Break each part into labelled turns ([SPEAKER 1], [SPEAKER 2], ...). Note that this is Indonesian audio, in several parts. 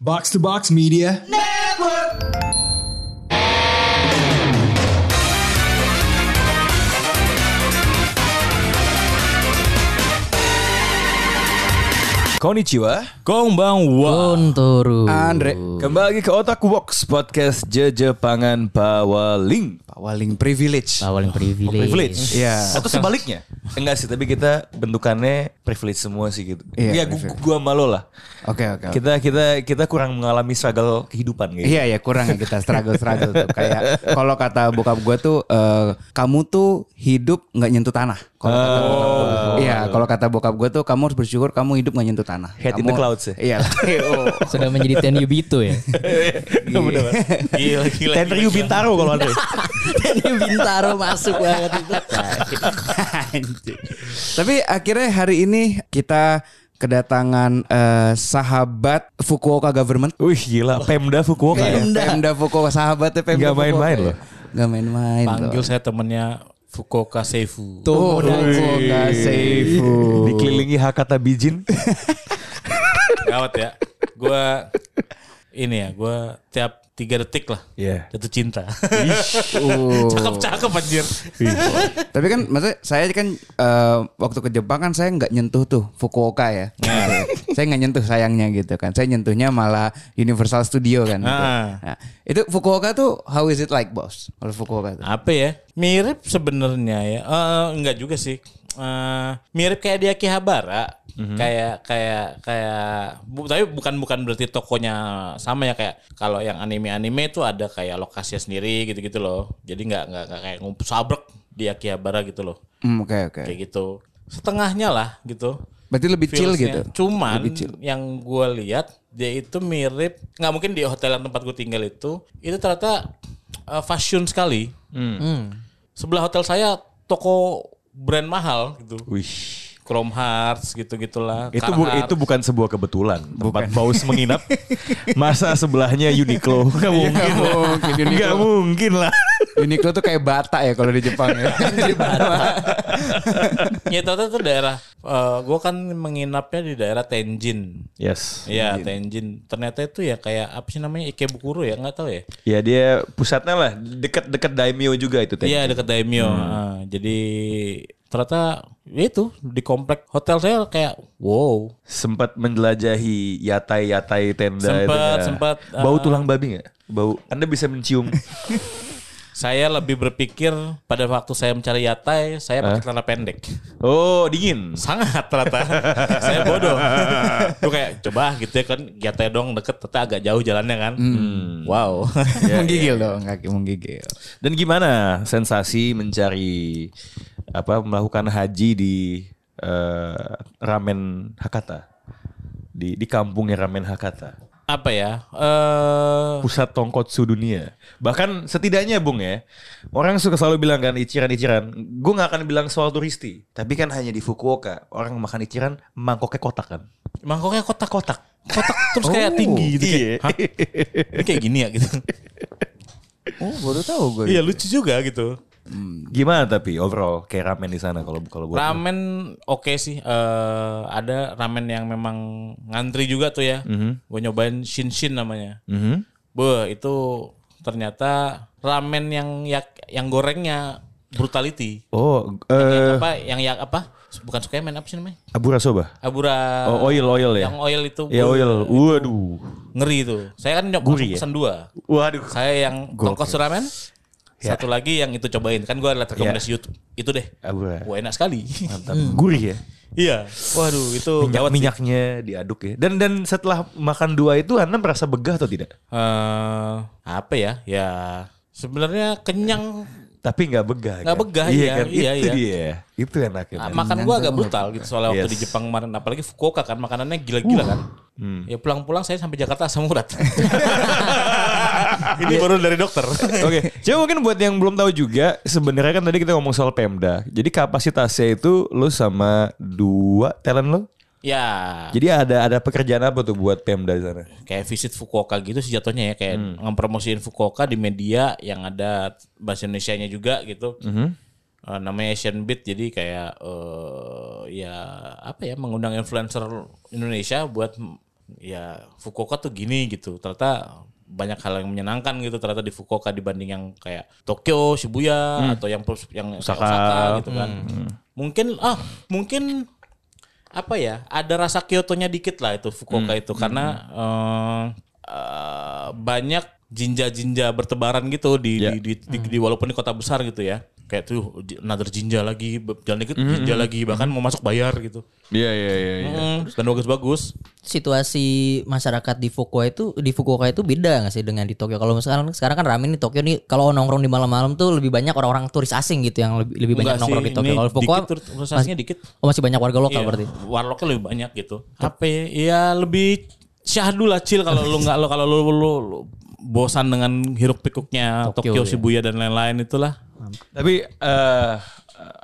[SPEAKER 1] Box to Box Media.
[SPEAKER 2] Konnichiwa
[SPEAKER 3] Konbanwa
[SPEAKER 4] Konturu.
[SPEAKER 3] Andre
[SPEAKER 2] Kembali ke Otak Box Podcast Jejepangan Pawaling
[SPEAKER 3] Pawaling privilege
[SPEAKER 4] Pawaling privilege.
[SPEAKER 5] Oh,
[SPEAKER 2] Privilege
[SPEAKER 3] Iya.
[SPEAKER 2] Atau sebaliknya Enggak sih tapi kita bentukannya privilege semua sih gitu Ya
[SPEAKER 3] Iya,
[SPEAKER 2] gu-
[SPEAKER 3] privilege.
[SPEAKER 2] gua malu lah
[SPEAKER 3] Oke oke oke.
[SPEAKER 2] Kita kita kita kurang mengalami struggle kehidupan gitu
[SPEAKER 3] Iya ya kurang ya kita struggle-struggle tuh Kayak kalau kata bokap gue tuh eh, Kamu tuh hidup nggak nyentuh tanah Kalau kata bokap gua. Iya kalau kata bokap gue tuh Kamu harus bersyukur kamu hidup nggak nyentuh tanah
[SPEAKER 2] Head in the
[SPEAKER 3] Kamu-
[SPEAKER 2] clouds ya?
[SPEAKER 3] Iya Oh.
[SPEAKER 4] Sudah menjadi Ten Yubito ya.
[SPEAKER 2] Bener-bener.
[SPEAKER 5] Gila, gila,
[SPEAKER 2] Tenryu Bintaro kalau Andre
[SPEAKER 4] Ten Bintaro masuk banget itu. Nah,
[SPEAKER 3] Anjing. Tapi akhirnya hari ini kita kedatangan eh, sahabat Fukuoka Government.
[SPEAKER 2] Wih gila Pemda Fukuoka ya
[SPEAKER 3] Pemda. Pemda Fukuoka sahabatnya Pemda
[SPEAKER 2] Nggak main-main loh.
[SPEAKER 3] Gak main-main.
[SPEAKER 5] Panggil
[SPEAKER 3] loh.
[SPEAKER 5] saya temennya Fukuoka Seifu.
[SPEAKER 3] Tuh, Fukuoka Seifu.
[SPEAKER 2] Dikelilingi Hakata Bijin
[SPEAKER 5] Gawat ya. Gua ini ya, gua tiap tiga detik lah
[SPEAKER 2] Iya.
[SPEAKER 5] jatuh cinta.
[SPEAKER 3] Uh.
[SPEAKER 5] Cakep-cakep anjir.
[SPEAKER 3] Tapi kan maksudnya saya kan eh, waktu ke Jepang kan saya nggak nyentuh tuh Fukuoka ya. saya nggak nyentuh sayangnya gitu kan. Saya nyentuhnya malah Universal Studio kan. gitu.
[SPEAKER 5] Ah.
[SPEAKER 3] Nah, itu Fukuoka tuh how is it like boss? Kalau Fukuoka tuh.
[SPEAKER 5] Apa ya? Mirip sebenarnya ya. Eh, enggak juga sih. Eh, mirip kayak di Akihabara. Kayak kayak kayak bu- tapi bukan bukan berarti tokonya sama ya kayak kalau yang anime-anime itu ada kayak lokasinya sendiri gitu-gitu loh. Jadi nggak nggak nggak kayak ngumpul sabrek di Akihabara gitu loh.
[SPEAKER 3] Hmm, Oke oke.
[SPEAKER 5] kayak gitu setengahnya lah gitu
[SPEAKER 3] Berarti lebih chill
[SPEAKER 5] Feels-nya.
[SPEAKER 3] gitu.
[SPEAKER 5] cuman
[SPEAKER 3] Lebih chill.
[SPEAKER 5] yang gue lihat dia itu mirip nggak mungkin di hotel yang tempat gue tinggal itu itu ternyata eh, fashion sekali
[SPEAKER 3] Hmm.
[SPEAKER 5] sebelah hotel saya toko brand mahal gitu
[SPEAKER 2] Wih
[SPEAKER 5] Chrome Hearts gitu gitulah
[SPEAKER 2] Itu bu- itu bukan sebuah kebetulan. Tempat Baus menginap. Masa sebelahnya Uniqlo. Gak mungkin.
[SPEAKER 3] Iya, Nggak mungkin, Uniqlo.
[SPEAKER 2] Gak mungkin lah.
[SPEAKER 3] Uniqlo tuh kayak bata ya kalau di Jepang ya. Di Bata.
[SPEAKER 5] ya ternyata itu daerah gue kan menginapnya di daerah Tenjin
[SPEAKER 2] Yes.
[SPEAKER 5] Iya Tenjin ternyata itu ya kayak apa sih namanya Ikebukuro ya nggak tahu ya
[SPEAKER 2] Ya dia pusatnya lah dekat-dekat Daimyo juga itu tadi.
[SPEAKER 5] Iya dekat Daimyo. Ah, jadi ternyata ya itu di komplek hotel saya kayak wow.
[SPEAKER 2] Sempat menjelajahi yatai-yatai tenda
[SPEAKER 5] Sempat,
[SPEAKER 2] itu. nggak?
[SPEAKER 5] sempat,
[SPEAKER 2] Bau
[SPEAKER 5] uh,
[SPEAKER 2] tulang babi nggak? Bau. Anda bisa mencium.
[SPEAKER 5] Saya lebih berpikir pada waktu saya mencari yatai, saya pakai celana pendek.
[SPEAKER 2] Oh dingin.
[SPEAKER 5] Sangat ternyata. saya bodoh. Gue kayak coba gitu ya kan yatai dong deket, ternyata agak jauh jalannya kan. Wow.
[SPEAKER 3] menggigil dong, kaki menggigil.
[SPEAKER 2] Dan gimana sensasi mencari apa melakukan haji di eh, ramen Hakata di di kampungnya ramen Hakata.
[SPEAKER 5] apa ya? Eh
[SPEAKER 2] pusat tongkotsu dunia. Bahkan setidaknya Bung ya, orang suka selalu bilang kan iciran-iciran. Gue nggak akan bilang soal turisti, tapi kan hanya di Fukuoka orang makan iciran mangkoknya kotak kan.
[SPEAKER 5] mangkoknya kotak-kotak. Kotak terus kayak tinggi gitu kayak, "Hah? Ini kayak gini ya gitu.
[SPEAKER 3] Oh, baru tahu gue.
[SPEAKER 5] Iya lucu juga gitu.
[SPEAKER 2] Gimana tapi overall kayak ramen di sana kalau kalau buat lu?
[SPEAKER 5] Ramen oke sih. eh ada ramen yang memang ngantri juga tuh ya. Gue nyobain Shinshin namanya.
[SPEAKER 2] Mhm.
[SPEAKER 5] Beuh, itu ternyata ramen yang yak, yang gorengnya brutality.
[SPEAKER 2] Oh, eh
[SPEAKER 5] Yang apa yang yak apa? Bukan sukemen apa sih namanya?
[SPEAKER 2] abura soba.
[SPEAKER 5] Abura.
[SPEAKER 2] Oh, oil oil ya.
[SPEAKER 5] Eh, Yang oil itu.
[SPEAKER 2] Ya
[SPEAKER 5] beuh,
[SPEAKER 2] oil. Waduh.
[SPEAKER 5] Ngeri itu. Saya kan nyoba
[SPEAKER 2] Gurih
[SPEAKER 5] langsung
[SPEAKER 2] ya?
[SPEAKER 5] pesan dua.
[SPEAKER 2] Waduh.
[SPEAKER 5] Saya yang tongkos ramen.
[SPEAKER 2] Ya.
[SPEAKER 5] Satu lagi yang itu cobain. Kan gue liat rekomendasi YouTube. Itu deh.
[SPEAKER 2] Abura.
[SPEAKER 5] Wah enak sekali.
[SPEAKER 2] Ya. Mantap. Gurih ya.
[SPEAKER 5] Iya. Waduh itu
[SPEAKER 2] Minyak minyaknya diaduk ya. Dan dan setelah makan dua itu Anda merasa begah atau tidak?
[SPEAKER 5] eh apa ya? Ya sebenarnya kenyang.
[SPEAKER 2] Tapi nggak begah.
[SPEAKER 5] Nggak begah, iya,
[SPEAKER 2] kan?
[SPEAKER 5] iya,
[SPEAKER 2] itu
[SPEAKER 5] iya.
[SPEAKER 2] dia. Itu enaknya.
[SPEAKER 5] Ah,
[SPEAKER 2] kan?
[SPEAKER 5] Makan gua agak brutal gitu soalnya waktu
[SPEAKER 2] Yes.
[SPEAKER 5] di Jepang kemarin apalagi Fukuoka kan makanannya gila-gila kan. Ya pulang-pulang saya sampai Jakarta asam urat. Ini baru dari dokter.
[SPEAKER 2] Oke, coba mungkin buat yang belum tahu juga, sebenarnya kan tadi kita ngomong soal Pemda. Jadi kapasitasnya itu lo sama dua talent lo.
[SPEAKER 5] ya,
[SPEAKER 2] Jadi ada ada pekerjaan apa tuh buat Pemda di sana?
[SPEAKER 5] kayak visit Fukuoka gitu sih jatuhnya ya kayak ngepromosiin Fukuoka di media yang ada bahasa Indonesianya juga gitu. Eh, namanya Asian Beat jadi kayak eh ya apa ya mengundang influencer Indonesia buat ya Fukuoka tuh gini gitu. Ternyata banyak hal yang menyenangkan gitu ternyata di Fukuoka dibanding yang kayak Tokyo, Shibuya atau yang yang kayak
[SPEAKER 2] Osaka.
[SPEAKER 5] gitu kan. Mungkin ah mungkin apa ya ada rasa Kyoto-nya dikit lah itu Fukuoka
[SPEAKER 4] Hmm.
[SPEAKER 5] itu karena eh, eh, banyak jinja-jinja bertebaran gitu di,
[SPEAKER 2] Ya.
[SPEAKER 5] di, di, di-
[SPEAKER 4] Hmm.
[SPEAKER 5] di- walaupun di kota besar gitu ya kayak tuh j- another jinja lagi be- jalan dikit
[SPEAKER 4] Hmm,
[SPEAKER 5] jinja lagi bahkan mau masuk bayar gitu
[SPEAKER 2] Iya iya iya. iya.
[SPEAKER 5] Mm, dan bagus-bagus
[SPEAKER 4] situasi masyarakat di Fukuoka itu di Fukuoka itu beda nggak sih dengan di Tokyo? Kalau misalkan sekarang kan rame nih Tokyo nih kalau nongkrong di malam-malam tuh lebih banyak orang-orang turis asing gitu yang lebih lebih banyak
[SPEAKER 5] Enggak
[SPEAKER 4] nongkrong
[SPEAKER 5] sih,
[SPEAKER 4] di Tokyo.
[SPEAKER 5] ini
[SPEAKER 4] Kalau Fukuoka
[SPEAKER 5] dikit, terus- terusnya dikit
[SPEAKER 4] oh, masih banyak warga lokal
[SPEAKER 5] Iya,
[SPEAKER 4] berarti.
[SPEAKER 5] warlocknya lebih banyak gitu. Apa ya? Iya lebih syahdu lah cil kalau lu nggak lo kalau lu, lu, lu bosan dengan hiruk pikuknya Tokyo,
[SPEAKER 4] Tokyo, ya.
[SPEAKER 5] Shibuya dan lain-lain itulah.
[SPEAKER 2] Tapi eh,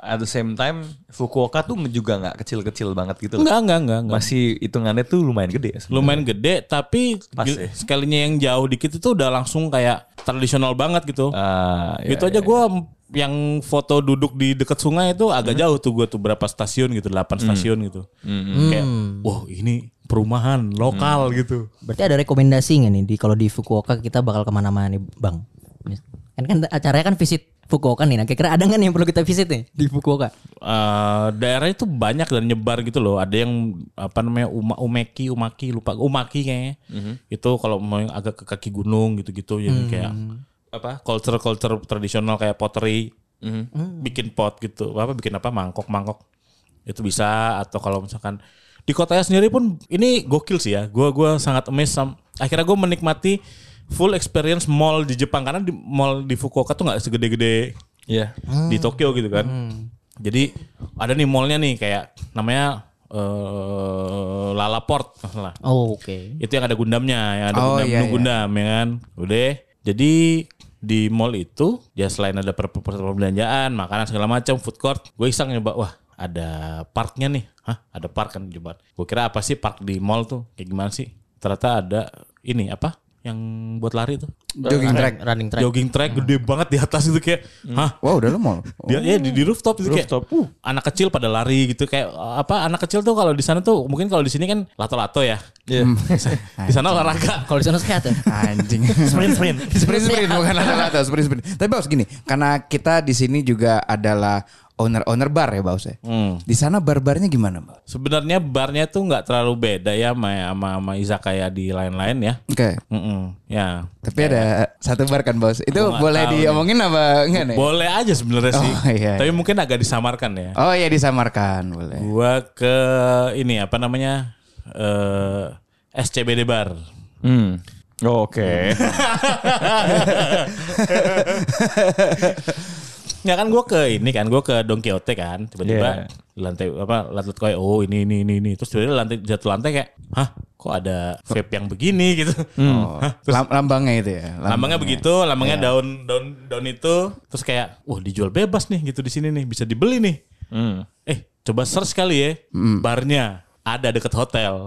[SPEAKER 2] at the same time Fukuoka tuh juga nggak kecil-kecil banget gitu. loh.
[SPEAKER 5] Enggak enggak enggak enggak.
[SPEAKER 2] Masih hitungannya tuh lumayan gede. ya sebenarnya.
[SPEAKER 5] Lumayan gede tapi
[SPEAKER 2] Pas
[SPEAKER 5] gil-
[SPEAKER 2] ya.
[SPEAKER 5] sekalinya yang jauh dikit itu udah langsung kayak tradisional banget gitu.
[SPEAKER 2] Ah, iya,
[SPEAKER 5] gitu aja
[SPEAKER 2] iya. Hmm.
[SPEAKER 5] gua yang foto duduk di dekat sungai itu agak jauh tuh gua tuh berapa stasiun gitu, 8 stasiun gitu.
[SPEAKER 2] Hmm.
[SPEAKER 5] Kayak wah ini perumahan lokal gitu.
[SPEAKER 4] Berarti ada rekomendasi nggak nih di kalau di Fukuoka kita bakal kemana-mana nih Bang? Kan kan acaranya kan visit Fukuoka nih. Nah kira-kira ada nggak nih yang perlu kita visit nih di Fukuoka?
[SPEAKER 5] eh daerahnya tuh banyak dan nyebar gitu loh. Ada yang apa namanya Uma, Umeki, Umaki, lupa Umaki kayaknya. Itu kalau mau yang agak ke kaki gunung gitu-gitu jadi kayak apa? culture-culture tradisional kayak pottery. Bikin pot gitu. Apa bikin apa? Mangkok-mangkok. Itu bisa atau kalau misalkan di kotanya sendiri pun ini gokil sih ya. Gua gua sangat amazed sam- akhirnya gue menikmati full experience mall di Jepang karena di mall di Fukuoka tuh nggak segede-gede
[SPEAKER 2] Iya.
[SPEAKER 5] di
[SPEAKER 3] Hmm.
[SPEAKER 5] Tokyo gitu kan. Jadi ada nih mallnya nih kayak namanya eh Lalaport lah.
[SPEAKER 4] Oh, oke.
[SPEAKER 5] Itu yang ada Gundamnya, yang ada
[SPEAKER 3] Oh,
[SPEAKER 5] Gundam,
[SPEAKER 3] iya,
[SPEAKER 5] menu
[SPEAKER 3] iya.
[SPEAKER 5] Gundam ya kan. Udah. Jadi di mall itu ya selain ada per- per- perbelanjaan, makanan segala macam, food court, gue iseng nyoba wah ada parknya nih. Hah, ada park kan coba. Gue kira apa sih park di mall tuh? Kayak gimana sih? Ternyata ada ini apa? Yang buat lari tuh.
[SPEAKER 3] Jogging track.
[SPEAKER 4] Running track.
[SPEAKER 5] Jogging
[SPEAKER 3] Hmm.
[SPEAKER 5] track gede banget di atas itu kayak, hah,
[SPEAKER 3] Wow, udah lu mall.
[SPEAKER 5] dia ya di, di rooftop itu kayak
[SPEAKER 2] Rooftop, uh.
[SPEAKER 5] anak kecil pada lari gitu kayak apa anak kecil tuh kalau di sana tuh mungkin kalau di sini kan lato-lato ya.
[SPEAKER 2] Iya.
[SPEAKER 3] Ah, iya.
[SPEAKER 5] Di sana olahraga.
[SPEAKER 4] Kalau di sana sehat ya?
[SPEAKER 3] Hmm. Nah, Anjing. sprint sprint. sprint sprint bukan rata-rata sprint sprint. Tapi Baus gini, karena kita di sini juga adalah owner owner bar ya Baus ya. Di sana bar-barnya gimana, Baus?
[SPEAKER 5] Sebenarnya barnya tuh nggak terlalu beda ya sama sama, sama izakaya di lain-lain ya.
[SPEAKER 3] Oke.
[SPEAKER 5] Mm-mm, ya.
[SPEAKER 3] Tapi ada satu bar kan Baus. Itu
[SPEAKER 5] nggak
[SPEAKER 3] boleh
[SPEAKER 5] tahu
[SPEAKER 3] diomongin apa enggak nih?
[SPEAKER 5] Boleh aja sebenarnya sih.
[SPEAKER 3] Oh, iya,
[SPEAKER 5] Tapi
[SPEAKER 3] iya.
[SPEAKER 5] mungkin agak disamarkan ya.
[SPEAKER 3] Oh iya disamarkan boleh.
[SPEAKER 5] Gua ke ini apa namanya? eh SCBD Bar.
[SPEAKER 2] Hmm. Oke.
[SPEAKER 5] Ya kan gue ke ini kan gue ke Don Quixote kan tiba-tiba
[SPEAKER 2] Yeah.
[SPEAKER 5] lantai apa lantai kayak oh ini ini ini ini terus tiba-tiba lantai jatuh lantai kayak hah kok ada vape yang begini gitu
[SPEAKER 3] Oh, lam- lambangnya itu ya.
[SPEAKER 5] lambangnya begitu iya. lambangnya daun daun daun itu terus kayak wah dijual bebas nih gitu di sini nih bisa dibeli nih
[SPEAKER 2] Hmm.
[SPEAKER 5] eh coba search kali ya barnya ada deket hotel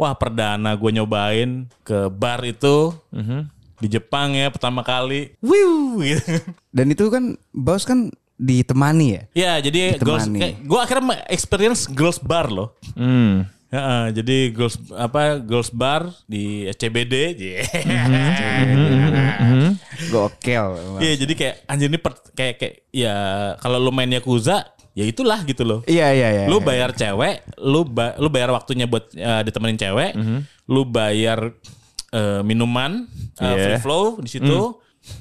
[SPEAKER 5] wah perdana gue nyobain ke bar itu di Jepang ya pertama kali wiu gitu
[SPEAKER 3] Dan itu kan Baus kan ditemani ya.
[SPEAKER 5] Ya jadi
[SPEAKER 3] Ditemani.
[SPEAKER 5] girls, gue akhirnya me- experience girls bar loh.
[SPEAKER 2] Hmm.
[SPEAKER 5] Ya, eh, jadi girls apa girls bar di CBD. Iya
[SPEAKER 3] Gokil.
[SPEAKER 5] Iya, jadi kayak anjir ini per- kayak kayak ya kalau lu main Yakuza ya itulah gitu loh.
[SPEAKER 3] Iya iya iya.
[SPEAKER 5] Lu bayar cewek, lu ba- lu bayar waktunya buat eh, ditemenin cewek,
[SPEAKER 3] Mhm.
[SPEAKER 5] lu bayar eh, minuman eh,
[SPEAKER 2] Iya.
[SPEAKER 5] free flow di situ
[SPEAKER 3] Mhm.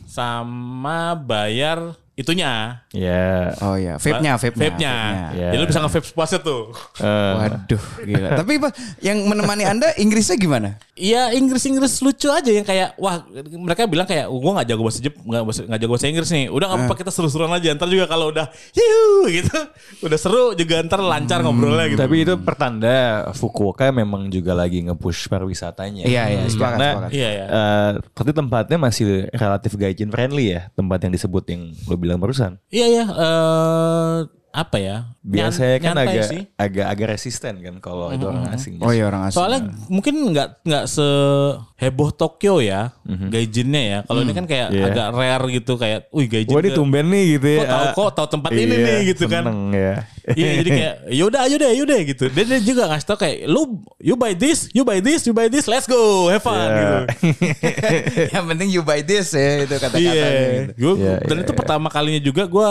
[SPEAKER 5] sama bayar itunya.
[SPEAKER 2] Ya.
[SPEAKER 3] Oh iya, vape-nya,
[SPEAKER 5] vape
[SPEAKER 3] vape-nya.
[SPEAKER 2] Iya.
[SPEAKER 5] Jadi lu bisa nge-vape sepuasnya tuh.
[SPEAKER 2] Eh,
[SPEAKER 3] Waduh, gila. Tapi Pak, yang menemani Anda Inggrisnya gimana?
[SPEAKER 5] Iya Inggris-Inggris lucu aja yang kayak wah mereka bilang kayak "Oh, gua nggak jago bahasa Jep nggak bahasa- nggak jago bahasa Inggris nih udah
[SPEAKER 2] Eh.
[SPEAKER 5] nggak apa-apa kita seru-seruan aja ntar juga kalau udah hiu gitu udah seru juga ntar lancar ngobrolnya gitu.
[SPEAKER 2] Hmm, Tapi itu pertanda Fukuoka memang juga lagi nge-push pariwisatanya. Hmm.
[SPEAKER 3] Iya, iya, sepakat,
[SPEAKER 2] Karena,
[SPEAKER 3] sepakat.
[SPEAKER 5] Iya ya.
[SPEAKER 2] eh, tapi tempatnya masih relatif gaijin friendly ya, tempat yang disebut yang lo bilang barusan.
[SPEAKER 5] Iya ya. iya, eh, apa ya? nyan-
[SPEAKER 2] Biasanya kan
[SPEAKER 5] nyantai
[SPEAKER 2] agak,
[SPEAKER 5] sih.
[SPEAKER 2] agak agak resisten kan kalau itu orang asing.
[SPEAKER 3] Oh iya orang asing.
[SPEAKER 2] Nah.
[SPEAKER 5] Soalnya mungkin nggak nggak seheboh Tokyo ya gajinya ya. Kalau ini kan kayak
[SPEAKER 2] Mhm. Iya.
[SPEAKER 5] agak rare gitu kayak, wih gaji.
[SPEAKER 2] Wah ini tumben nih gitu ya.
[SPEAKER 5] Kok tahu
[SPEAKER 2] Ah,
[SPEAKER 5] kok tahu tempat ini
[SPEAKER 2] iya,
[SPEAKER 5] nih gitu kan.
[SPEAKER 2] seneng ya.
[SPEAKER 5] Iya jadi kayak yaudah ayo deh yaudah gitu. Dan dia juga ngasih tau kayak lu you buy this, you buy this, you buy this, let's go have fun
[SPEAKER 2] Iya. Eh,
[SPEAKER 5] gitu.
[SPEAKER 3] Yang penting you buy this ya itu
[SPEAKER 5] Iya.
[SPEAKER 3] kata-katanya. gitu.
[SPEAKER 5] Gua-
[SPEAKER 2] Iya,
[SPEAKER 5] dan
[SPEAKER 2] iya,
[SPEAKER 5] itu pertama kalinya juga gua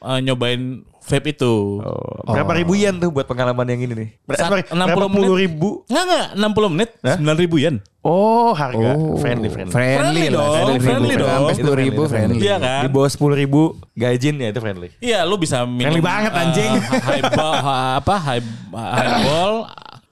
[SPEAKER 5] eh, nyobain vape itu.
[SPEAKER 2] Oh, berapa ribu yen tuh buat pengalaman yang ini nih? Berapa,
[SPEAKER 5] Saat
[SPEAKER 2] berapa
[SPEAKER 5] 60
[SPEAKER 2] puluh
[SPEAKER 5] menit.
[SPEAKER 2] ribu?
[SPEAKER 5] Enggak enggak 60 menit 9000 yen.
[SPEAKER 2] Oh harga friendly friendly.
[SPEAKER 3] Friendly,
[SPEAKER 5] Friendly dong, friendly dong.
[SPEAKER 2] Itu
[SPEAKER 3] Sampai sepuluh ribu
[SPEAKER 2] friendly.
[SPEAKER 3] friendly.
[SPEAKER 5] Iya kan?
[SPEAKER 2] Di bawah sepuluh ribu gajin ya itu friendly.
[SPEAKER 5] Iya, lu bisa minum.
[SPEAKER 2] Friendly banget,
[SPEAKER 5] eh,
[SPEAKER 2] anjing.
[SPEAKER 5] highball ha- apa high- highball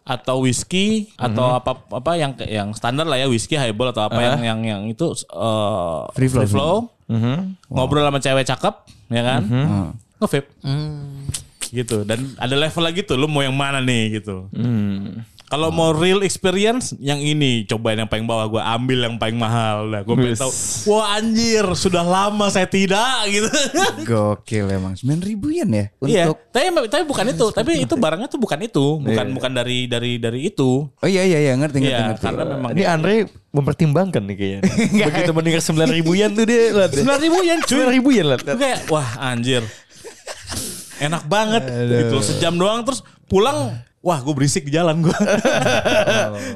[SPEAKER 5] atau whisky atau
[SPEAKER 2] Mhm.
[SPEAKER 5] apa apa yang yang standar lah ya whisky highball atau apa yang yang yang itu eh,
[SPEAKER 3] Free flow.
[SPEAKER 2] Mhm.
[SPEAKER 5] Ngobrol sama cewek cakep, ya kan?
[SPEAKER 3] Hmm.
[SPEAKER 5] Nge-vape
[SPEAKER 2] Hmm.
[SPEAKER 5] gitu dan ada level lagi tuh lu mau yang mana nih gitu.
[SPEAKER 2] Hmm.
[SPEAKER 5] Kalau mau real experience yang ini cobain yang paling bawah gua ambil yang paling mahal lah gua pengen
[SPEAKER 2] Wis.
[SPEAKER 5] tahu wah anjir sudah lama saya tidak gitu.
[SPEAKER 3] Gokil emang. 9 ribuan ya
[SPEAKER 5] Iya,
[SPEAKER 3] untuk
[SPEAKER 5] tapi tapi bukan itu, tapi itu barangnya tuh bukan itu, bukan bukan dari dari dari itu.
[SPEAKER 3] Oh iya iya iya ngerti ngerti
[SPEAKER 5] Iya,
[SPEAKER 3] ngerti.
[SPEAKER 5] karena memang
[SPEAKER 2] Ini Andre mempertimbangkan nih kayaknya. Begitu mendengar sembilan ribu yen tuh dia.
[SPEAKER 5] sembilan ribu yen
[SPEAKER 2] Iya. Sembilan
[SPEAKER 5] cuy.
[SPEAKER 2] ribu yen lah.
[SPEAKER 5] Gue kayak wah anjir, enak banget gitu sejam doang terus pulang. Wah, gue berisik di jalan gue.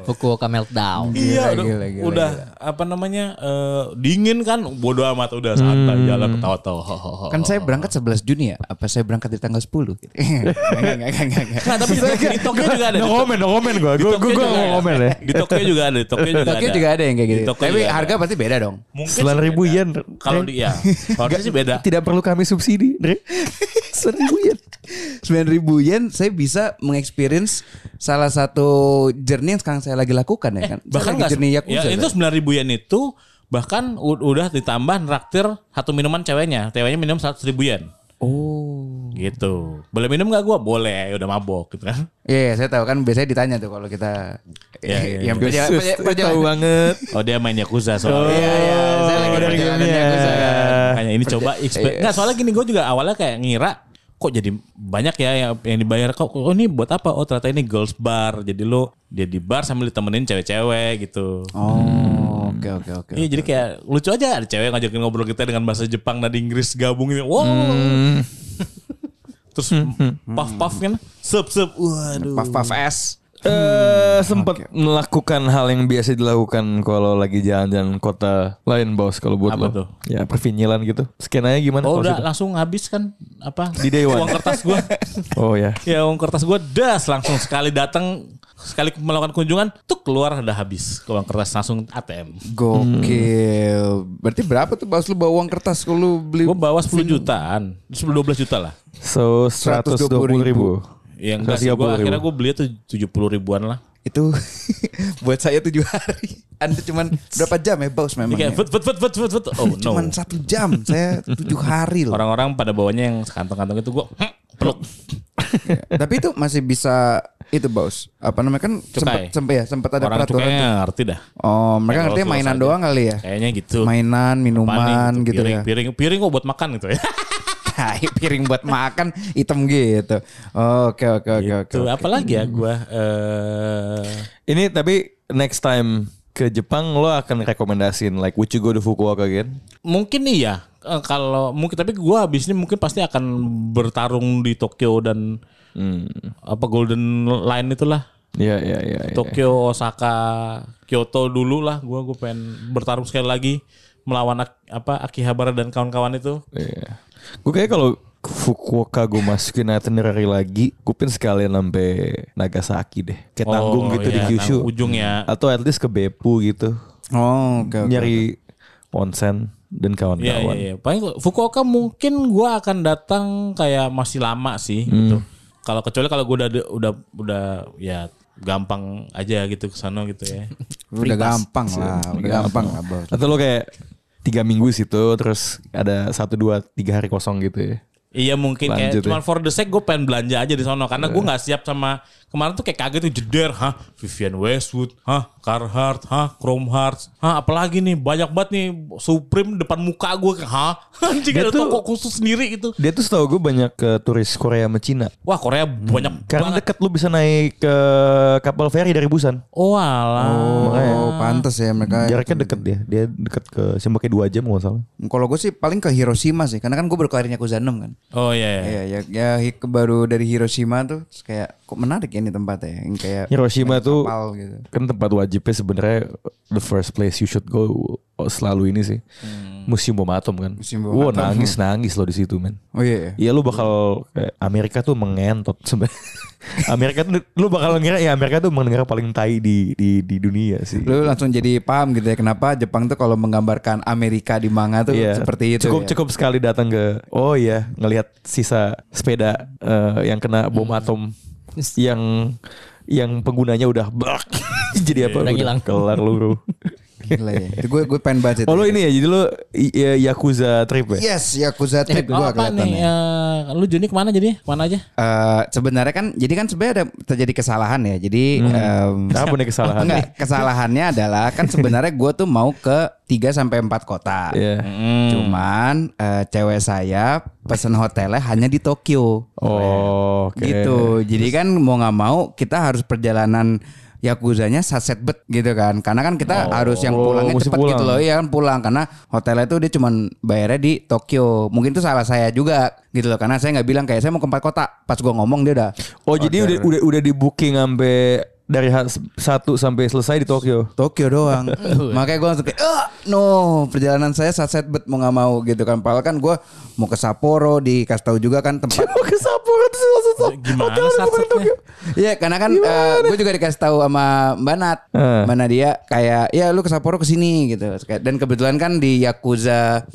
[SPEAKER 4] Fukuoka meltdown.
[SPEAKER 5] iya,
[SPEAKER 3] gila,
[SPEAKER 5] udah,
[SPEAKER 3] gila,
[SPEAKER 5] udah, apa namanya eh, dingin kan, bodo amat udah santai jalan ketawa-tawa.
[SPEAKER 3] Hmm. Kan saya berangkat 11 Juni ya? Apa saya berangkat di tanggal Kan 10? Gitu. Enggak, enggak, enggak, enggak, enggak.
[SPEAKER 5] Nah, tapi di, di Tokyo juga ada.
[SPEAKER 2] No comment, no comment gue. Gue gue
[SPEAKER 5] juga
[SPEAKER 2] mau
[SPEAKER 5] ada.
[SPEAKER 2] comment ya.
[SPEAKER 5] Di Tokyo juga ada, di Tokyo juga
[SPEAKER 3] Tokyo
[SPEAKER 5] ada.
[SPEAKER 3] juga ada yang kayak
[SPEAKER 5] Di
[SPEAKER 3] gitu.
[SPEAKER 5] Tokyo
[SPEAKER 3] Tapi
[SPEAKER 5] juga ada.
[SPEAKER 3] harga pasti beda dong.
[SPEAKER 5] Mungkin
[SPEAKER 2] Sembilan
[SPEAKER 5] sih
[SPEAKER 2] ribu
[SPEAKER 5] beda.
[SPEAKER 2] yen.
[SPEAKER 5] Kalau
[SPEAKER 2] Dre.
[SPEAKER 5] di ya, kalau di sih beda.
[SPEAKER 2] Tidak perlu kami subsidi, Dre. Sembilan ribu yen.
[SPEAKER 3] 9 ribu yen saya bisa mengexperience salah satu journey yang sekarang saya lagi lakukan ya kan. Saya
[SPEAKER 5] bahkan
[SPEAKER 3] lagi
[SPEAKER 5] nggak
[SPEAKER 3] journey
[SPEAKER 5] ya,
[SPEAKER 3] Yakuza.
[SPEAKER 5] itu
[SPEAKER 3] kan?
[SPEAKER 5] sembilan ribu yen itu bahkan u- udah ditambah neraktir satu minuman ceweknya ceweknya minum seratus ribu yen
[SPEAKER 3] Oh.
[SPEAKER 5] gitu boleh minum nggak gua boleh udah mabok gitu kan
[SPEAKER 3] Iya, iya, saya tahu kan biasanya ditanya tuh kalau kita
[SPEAKER 5] Iya, iya,
[SPEAKER 3] yang
[SPEAKER 2] Gue
[SPEAKER 3] perja- perja- perjalanan.
[SPEAKER 2] tahu banget.
[SPEAKER 5] oh dia main yakuza soalnya
[SPEAKER 3] Iya, iya, saya lagi
[SPEAKER 2] Oh, dari
[SPEAKER 3] perjalanan
[SPEAKER 2] gamenya.
[SPEAKER 3] Yakuza kan.
[SPEAKER 5] Makanya ini coba experience. Nggak, soalnya gini gue juga awalnya kayak ngira kok jadi banyak ya yang, yang dibayar kok oh ini buat apa oh ternyata ini girls bar jadi lo dia di bar sambil ditemenin cewek-cewek gitu
[SPEAKER 3] Oh, oke oke oke.
[SPEAKER 2] Gitu.
[SPEAKER 5] Iya jadi kayak lucu aja ada cewek ngajakin ngobrol kita dengan bahasa Jepang dan Inggris gabung gitu. Wow.
[SPEAKER 2] Hmm.
[SPEAKER 5] Terus puff puff kan, sup sup. Waduh.
[SPEAKER 3] Puff puff ass.
[SPEAKER 2] eh sempat melakukan hal yang biasa dilakukan kalau lagi jalan-jalan kota lain bos kalau buat lo
[SPEAKER 5] Apa tuh?
[SPEAKER 2] ya pervinyilan gitu skenanya gimana
[SPEAKER 5] Oh
[SPEAKER 2] kalau
[SPEAKER 5] udah
[SPEAKER 2] sudah?
[SPEAKER 5] langsung habis kan apa?
[SPEAKER 2] Di day one.
[SPEAKER 5] Uang kertas gua.
[SPEAKER 2] oh ya
[SPEAKER 5] ya uang kertas gua das langsung sekali datang sekali melakukan kunjungan tuh keluar udah habis uang kertas langsung ATM.
[SPEAKER 3] Gokil. Berarti berapa tuh pas lu bawa uang kertas kalau lu beli?
[SPEAKER 5] Gua bawa 10 jutaan, 10 12 juta lah.
[SPEAKER 2] so 120 ribu
[SPEAKER 5] Ya enggak sih,
[SPEAKER 2] 130 ribu.
[SPEAKER 5] gua akhirnya gua beli tuh 70 ribuan lah.
[SPEAKER 3] Itu buat saya tujuh hari. Anda cuman berapa jam ya bos memang?
[SPEAKER 5] Kayak
[SPEAKER 3] ya?
[SPEAKER 5] fut fut fut fut fut fut. Oh no.
[SPEAKER 3] Cuman satu jam. Saya tujuh hari loh.
[SPEAKER 5] Orang-orang pada bawanya yang sekantong-kantong itu gua "Hm, peluk.
[SPEAKER 3] Tapi itu masih bisa itu bos. Apa namanya kan sempat
[SPEAKER 5] Cukai.
[SPEAKER 3] sempat ya sempat ada
[SPEAKER 5] orang
[SPEAKER 3] peraturan.
[SPEAKER 5] cukainya
[SPEAKER 3] tuh.
[SPEAKER 5] ngerti dah.
[SPEAKER 3] Oh mereka ngerti
[SPEAKER 5] Kalau
[SPEAKER 3] mainan
[SPEAKER 5] close aja.
[SPEAKER 3] doang kali ya?
[SPEAKER 5] Kayaknya gitu.
[SPEAKER 3] Mainan, minuman
[SPEAKER 5] Panik
[SPEAKER 3] gitu,
[SPEAKER 5] piring,
[SPEAKER 3] ya.
[SPEAKER 5] Piring, piring kok buat makan gitu ya.
[SPEAKER 3] Tai, piring buat makan hitam gitu. Oke oke oke oke.
[SPEAKER 2] Gitu,
[SPEAKER 5] Tuh, apalagi ya gua eh
[SPEAKER 2] ini tapi next time ke Jepang lo akan rekomendasiin like would you go to Fukuoka again
[SPEAKER 5] mungkin iya Eh, kalau mungkin tapi gua habis ini mungkin pasti akan bertarung di Tokyo dan
[SPEAKER 2] Hmm.
[SPEAKER 5] apa Golden Line itulah.
[SPEAKER 2] ya ya ya ya.
[SPEAKER 5] Tokyo, Osaka, Kyoto dulu lah gua gua pengen bertarung sekali lagi melawan Ak- apa Akihabara dan kawan-kawan itu.
[SPEAKER 2] Iya. Gue kayak kalau Fukuoka gue masukin itinerary lagi, gue pin sekalian sampai Nagasaki deh. Kayak
[SPEAKER 5] Oh,
[SPEAKER 2] tanggung gitu di
[SPEAKER 5] iya,
[SPEAKER 2] Kyushu.
[SPEAKER 5] tanggung ujung ya.
[SPEAKER 2] Atau at least ke Beppu gitu.
[SPEAKER 3] Oh oke oke.
[SPEAKER 2] Nyari onsen dan
[SPEAKER 5] Iya iya
[SPEAKER 2] kawan-kawan.
[SPEAKER 5] iya. Paling Fukuoka mungkin gua akan datang kayak masih lama sih gitu. Kalau kecuali kalau gua udah udah udah ya gampang aja gitu ke sana gitu ya.
[SPEAKER 3] Udah gampang lah,
[SPEAKER 2] Iya.
[SPEAKER 3] udah gampang lah bos.
[SPEAKER 2] Atau lo kayak tiga minggu situ terus ada satu dua tiga hari kosong gitu ya.
[SPEAKER 5] Iya mungkin kayak
[SPEAKER 3] Lanjut ya.
[SPEAKER 5] cuman for the sake gue pengen belanja aja di sono karena gue nggak siap sama kemarin tuh kayak kaget tuh jeder hah Vivian Westwood hah Carhartt hah Chrome Hearts hah apalagi nih banyak banget nih Supreme depan muka gue hah anjing
[SPEAKER 2] Dia
[SPEAKER 5] ada
[SPEAKER 2] tuh-
[SPEAKER 5] toko khusus sendiri gitu
[SPEAKER 2] Dia tuh setahu gue banyak ke turis Korea sama Cina.
[SPEAKER 5] wah Korea banyak
[SPEAKER 2] Karena
[SPEAKER 5] banget
[SPEAKER 2] deket lu bisa naik ke kapal feri dari Busan.
[SPEAKER 5] oh alah
[SPEAKER 3] Oh, pantas ya mereka.
[SPEAKER 2] Jaraknya deket dia. Dia deket ke sih pakai 2 jam kalau nggak salah.
[SPEAKER 3] Kalau gue sih paling ke Hiroshima sih, karena kan gue berkarirnya ke 6 kan.
[SPEAKER 5] oh iya, iya.
[SPEAKER 2] Eh.
[SPEAKER 3] Iya, ya, ya, hi- baru dari Hiroshima tuh terus kayak kok menarik ya ini tempatnya, yang kayak
[SPEAKER 2] Hiroshima tuh
[SPEAKER 3] kapal gitu.
[SPEAKER 2] kan tempat wajibnya sebenarnya the first place you should go selalu ini sih. Museum Bom Atom kan.
[SPEAKER 3] Museum Bom
[SPEAKER 2] Wah,
[SPEAKER 3] Atom.
[SPEAKER 2] nangis-nangis lo di situ, men.
[SPEAKER 3] Oh iya,
[SPEAKER 2] Iya
[SPEAKER 3] iya.
[SPEAKER 2] lu bakal kayak Amerika tuh mengentot sebenarnya. Amerika tuh lu bakal ngira ya Amerika tuh negara paling tai di di di dunia sih.
[SPEAKER 3] Lu langsung jadi paham gitu ya kenapa Jepang tuh kalau menggambarkan Amerika di manga tuh
[SPEAKER 2] Iya.
[SPEAKER 3] seperti itu.
[SPEAKER 2] Cukup
[SPEAKER 3] ya.
[SPEAKER 2] cukup sekali datang ke oh iya ngelihat sisa sepeda eh, yang kena bom
[SPEAKER 3] Hmm.
[SPEAKER 2] atom yang yang penggunanya udah blak.
[SPEAKER 3] Iya,
[SPEAKER 2] jadi apa?
[SPEAKER 4] Udah hilang.
[SPEAKER 2] Kelar lu. bro.
[SPEAKER 3] Gila ya. Itu gue gue pengen baca.
[SPEAKER 2] Oh lu ini ya jadi lu i- i- Yakuza trip ya?
[SPEAKER 3] Yes, Yakuza Trip
[SPEAKER 5] Oh,
[SPEAKER 3] gue ya.
[SPEAKER 5] apa nih?
[SPEAKER 3] kelihatannya.
[SPEAKER 5] Eh, lu Juni kemana jadi? Kemana aja?
[SPEAKER 3] Eh, sebenarnya kan jadi kan sebenarnya ada terjadi kesalahan ya. Jadi em,
[SPEAKER 2] Apa nih Hmm. kesalahan?
[SPEAKER 3] Iya. Enggak, kesalahannya adalah kan sebenarnya gue tuh mau ke 3 sampai 4 kota.
[SPEAKER 2] Iya.
[SPEAKER 3] Cuman eh, cewek saya pesen hotelnya hanya di Tokyo.
[SPEAKER 2] Oh, oke.
[SPEAKER 3] Gitu. Jadi kan mau nggak mau kita harus perjalanan Yakuzanya saset bet gitu kan. Karena kan kita harus yang
[SPEAKER 2] Oh,
[SPEAKER 3] pulangnya
[SPEAKER 2] mesti
[SPEAKER 3] cepet
[SPEAKER 2] pulang.
[SPEAKER 3] gitu loh. Iya kan pulang karena hotelnya tuh dia cuman bayarnya di Tokyo. Mungkin itu salah saya juga gitu loh. Karena saya nggak bilang kayak saya mau ke empat kota. Pas gua ngomong dia udah
[SPEAKER 2] Oh jadi udah udah udah di booking sampai dari ha- satu sampai selesai di Tokyo.
[SPEAKER 3] Tokyo doang.
[SPEAKER 2] Iya.
[SPEAKER 3] Makanya gue langsung kayak, "Ah, no, perjalanan saya saat set bet mau nggak mau gitu kan. Padahal kan gue mau ke Sapporo, dikasih tahu juga kan tempat.
[SPEAKER 2] Mau ke Sapporo terus langsung Sapporo.
[SPEAKER 5] Gimana
[SPEAKER 2] Hotel di bukan
[SPEAKER 5] satsetnya?
[SPEAKER 2] Tokyo.
[SPEAKER 3] Iya, karena kan gue juga dikasih tahu sama Mbak Nat.
[SPEAKER 2] Eh.
[SPEAKER 3] Mbak Nadia kayak, ya lu ke Sapporo ke sini gitu. Kayak- Dan kebetulan kan di Yakuza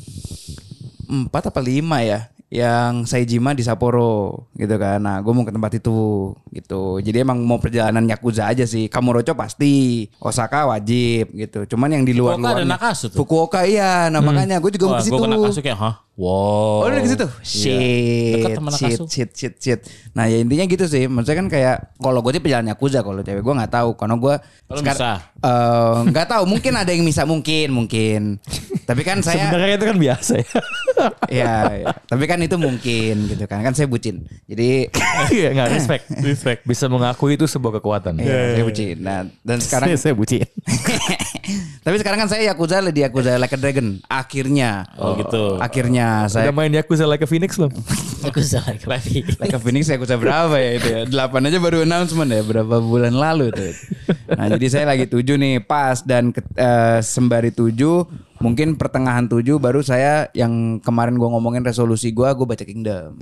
[SPEAKER 3] 4 apa 5 ya yang Saijima di Sapporo gitu kan. Nah, gue mau ke tempat itu gitu. Jadi emang mau perjalanan Yakuza aja sih. Kamurocho pasti, Osaka wajib gitu. Cuman yang di
[SPEAKER 5] Fukuoka
[SPEAKER 3] luar-luar
[SPEAKER 5] ada Nakasu tuh.
[SPEAKER 3] Fukuoka iya, nah makanya gue juga mau
[SPEAKER 5] Wah,
[SPEAKER 3] ke situ.
[SPEAKER 5] Gue kena kasih kayak, hah? Wow.
[SPEAKER 3] Oh, udah ke situ. Shit.
[SPEAKER 5] Dekat Iya. sama
[SPEAKER 3] shit,
[SPEAKER 5] Nakasu.
[SPEAKER 3] shit, shit, shit. Nah, ya intinya gitu sih. Maksudnya kan kayak kalau gue sih perjalanan Yakuza kalau cewek gue nggak tahu karena gue
[SPEAKER 5] Kalau
[SPEAKER 3] sekar-
[SPEAKER 5] bisa.
[SPEAKER 3] Eh, nggak tahu mungkin ada yang bisa mungkin mungkin tapi kan saya
[SPEAKER 2] Sebenarnya itu kan biasa ya.
[SPEAKER 3] ya, ya. tapi kan itu mungkin gitu kan kan saya bucin jadi
[SPEAKER 2] Iya nggak respect.
[SPEAKER 5] Respect.
[SPEAKER 2] Bisa mengakui itu sebuah kekuatan.
[SPEAKER 5] Iya,
[SPEAKER 3] ya, saya bucin nah dan sekarang
[SPEAKER 2] saya bucin.
[SPEAKER 3] tapi sekarang kan saya yakuza di yakuza like a dragon akhirnya
[SPEAKER 5] Oh, gitu.
[SPEAKER 3] akhirnya saya
[SPEAKER 2] Udah main Yakuza like a Phoenix loh.
[SPEAKER 4] Aku salah lagi.
[SPEAKER 3] Like a Phoenix Yakuza berapa ya itu ya? Delapan aja baru announcement ya berapa bulan lalu tuh. Nah jadi saya lagi tujuh nih pas dan ke- eh, sembari tujuh mungkin pertengahan tujuh baru saya yang kemarin gua ngomongin resolusi gua gue baca Kingdom.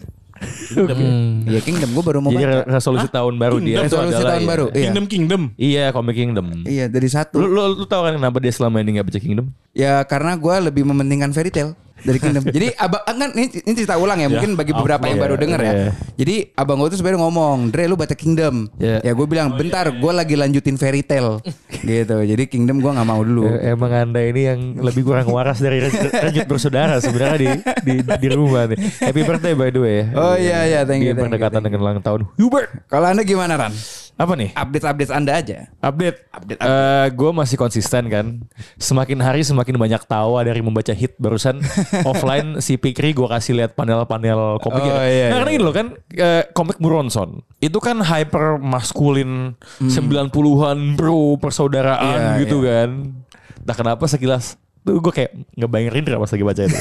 [SPEAKER 3] Iya Kingdom gue baru mau
[SPEAKER 2] Jadi
[SPEAKER 3] baca.
[SPEAKER 2] resolusi tahun baru dia. itu
[SPEAKER 3] Resolusi
[SPEAKER 2] adalah,
[SPEAKER 3] tahun
[SPEAKER 2] iya.
[SPEAKER 3] baru. Iya.
[SPEAKER 5] Kingdom Kingdom.
[SPEAKER 2] Iya komik Kingdom.
[SPEAKER 3] Iya dari satu.
[SPEAKER 2] Lu, lu, lu tau kan kenapa dia selama ini gak baca Kingdom?
[SPEAKER 3] Ya karena gua lebih mementingkan fairy tale dari Kingdom. Jadi abang ah, kan ini, ini cerita ulang ya, mungkin bagi beberapa yang baru denger ya.
[SPEAKER 2] iya.
[SPEAKER 3] Jadi abang gue tuh sebenarnya ngomong, Dre lu baca Kingdom.
[SPEAKER 2] Iya.
[SPEAKER 3] Ya gue bilang bentar, gua lagi lanjutin fairy tale gitu. Jadi Kingdom gua nggak mau dulu.
[SPEAKER 2] Eh, Emang anda ini yang lebih kurang waras dari re- renyut bersaudara sebenarnya di, di di rumah nih. Happy birthday by the way ya.
[SPEAKER 3] Oh iya iya, thank
[SPEAKER 2] Di
[SPEAKER 3] you. thank you,
[SPEAKER 2] pendekatan
[SPEAKER 3] thank you.
[SPEAKER 2] dengan ulang tahun. Hubert.
[SPEAKER 3] Kalau anda gimana Ran?
[SPEAKER 2] Apa nih?
[SPEAKER 3] Update-update anda aja.
[SPEAKER 2] Update.
[SPEAKER 3] Update,
[SPEAKER 2] gue masih konsisten kan. Semakin hari semakin banyak tawa dari membaca hit barusan offline si Pikri gue kasih lihat panel-panel komik.
[SPEAKER 3] Oh, iya,
[SPEAKER 2] karena
[SPEAKER 3] iya.
[SPEAKER 2] gini loh kan eh, komik Muronson itu kan hyper maskulin 90-an bro persaudaraan
[SPEAKER 3] Hmm. Iya,
[SPEAKER 2] gitu kan. Nah kenapa sekilas tuh gue kayak ngebayangin Rindra pas lagi baca itu.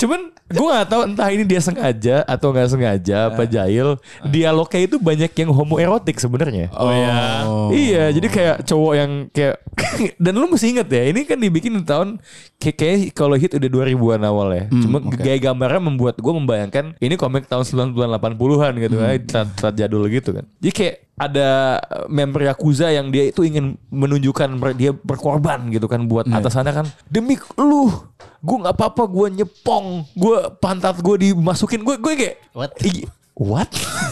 [SPEAKER 2] Cuman gue gak tahu entah ini dia sengaja atau nggak sengaja
[SPEAKER 3] Iya.
[SPEAKER 2] apa jahil.
[SPEAKER 3] Ah.
[SPEAKER 2] Dialognya itu banyak yang homoerotik sebenarnya.
[SPEAKER 5] Oh, ya.
[SPEAKER 2] Iya, jadi kayak cowok yang kayak dan lu mesti inget ya, ini kan dibikin di tahun kayak, kayak kalau hit udah 2000-an awal ya. Cuma gaya gambarnya membuat gue membayangkan ini komik tahun 90-an 80-an gitu ya, saat- saat jadul gitu kan. Jadi kayak ada eh, member Yakuza yang dia itu ingin menunjukkan ber- dia berkorban gitu kan buat atasannya kan demi lu gue nggak apa-apa gue nyepong gue pantat gue dimasukin gue gue kayak
[SPEAKER 4] What?
[SPEAKER 2] "Ih, what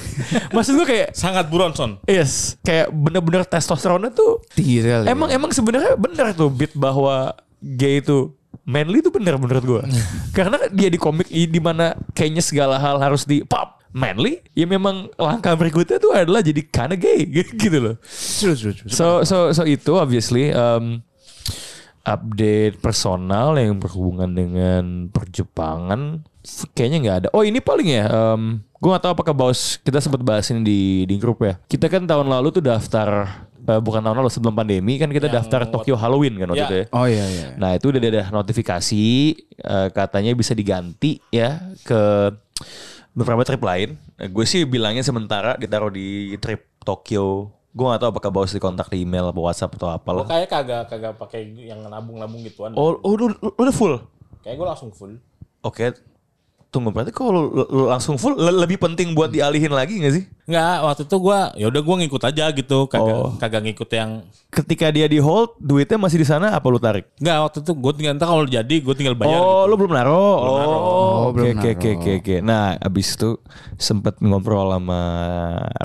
[SPEAKER 2] maksud gue kayak
[SPEAKER 5] Sangat buronson.
[SPEAKER 2] Yes, kayak bener-bener testosteronnya tuh ya?
[SPEAKER 3] Tinggi sekali.
[SPEAKER 2] emang emang sebenarnya bener tuh beat bahwa gay itu manly itu bener menurut gue. Karena dia di komik i- di mana kayaknya segala hal harus di pop manly, ya memang langkah berikutnya tuh adalah jadi kinda gay gitu loh. So so so itu obviously um, update personal yang berhubungan dengan perjepangan f- kayaknya nggak ada. Oh ini paling ya. Um, gue nggak tahu apakah bos kita sempat bahas ini di di grup ya. Kita kan tahun lalu tuh daftar eh, bukan tahun lalu sebelum pandemi kan kita daftar Tokyo Halloween kan waktu
[SPEAKER 5] Ya.
[SPEAKER 2] itu ya.
[SPEAKER 3] Oh iya iya.
[SPEAKER 2] Nah itu udah ada notifikasi eh, katanya bisa diganti ya ke beberapa trip lain. Eh, gue sih bilangnya sementara ditaruh di trip Tokyo. Gue gak tahu apakah bawa di kontak di email apa WhatsApp atau
[SPEAKER 5] Gue
[SPEAKER 2] apalah.
[SPEAKER 5] kayak kagak kagak pakai yang nabung-nabung gituan.
[SPEAKER 2] Oh, oh lu, lu udah full.
[SPEAKER 5] Kayak gue langsung full.
[SPEAKER 2] Oke. Tunggu berarti kalau lu, lu langsung full le- lebih penting buat dialihin lagi gak sih?
[SPEAKER 5] Enggak, waktu itu gue ya udah gue ngikut aja gitu, kagak
[SPEAKER 2] Oh.
[SPEAKER 5] kagak ngikut yang
[SPEAKER 2] Ketika dia di hold, duitnya masih di sana apa lu tarik?
[SPEAKER 5] Enggak, waktu itu gue tinggal ntar kalau jadi gue tinggal bayar
[SPEAKER 2] oh,
[SPEAKER 5] gitu.
[SPEAKER 2] lu belum naro.
[SPEAKER 3] Oh,
[SPEAKER 2] Oh, oke oke
[SPEAKER 3] belum naro.
[SPEAKER 2] oke oke oke. Nah, abis itu sempet ngobrol sama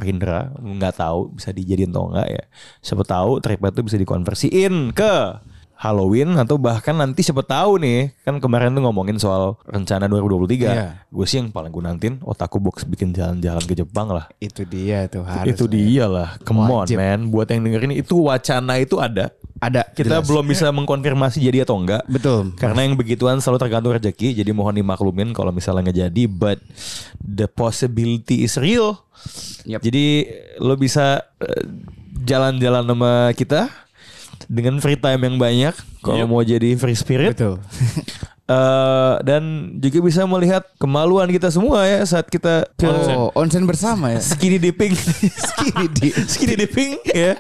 [SPEAKER 2] Rindra, nggak tahu bisa dijadiin atau enggak ya. Siapa tahu tripnya itu bisa dikonversiin ke Halloween atau bahkan nanti siapa tahu nih kan kemarin tuh ngomongin soal rencana 2023
[SPEAKER 3] Iya.
[SPEAKER 2] gue sih yang paling gue nantin otaku box bikin jalan-jalan ke Jepang lah
[SPEAKER 3] Itu dia tuh harus. ya.
[SPEAKER 2] itu dia lah come on
[SPEAKER 3] Wajib.
[SPEAKER 2] man buat yang dengerin itu wacana itu ada
[SPEAKER 3] Ada
[SPEAKER 2] kita
[SPEAKER 3] jelas.
[SPEAKER 2] belum bisa mengkonfirmasi jadi atau enggak
[SPEAKER 3] Betul.
[SPEAKER 2] karena yang begituan selalu tergantung rezeki, jadi mohon dimaklumin kalau misalnya nggak jadi. But the possibility is real.
[SPEAKER 3] Yap.
[SPEAKER 2] Jadi lo bisa eh, jalan-jalan sama kita dengan free time yang banyak. Kalau mau jadi free spirit,
[SPEAKER 3] Betul.
[SPEAKER 2] Eh, dan juga bisa melihat kemaluan kita semua ya saat kita ke
[SPEAKER 3] Oh, onsen bersama ya.
[SPEAKER 2] skinny dipping.
[SPEAKER 3] Skinny dip.
[SPEAKER 2] skinny dipping ya.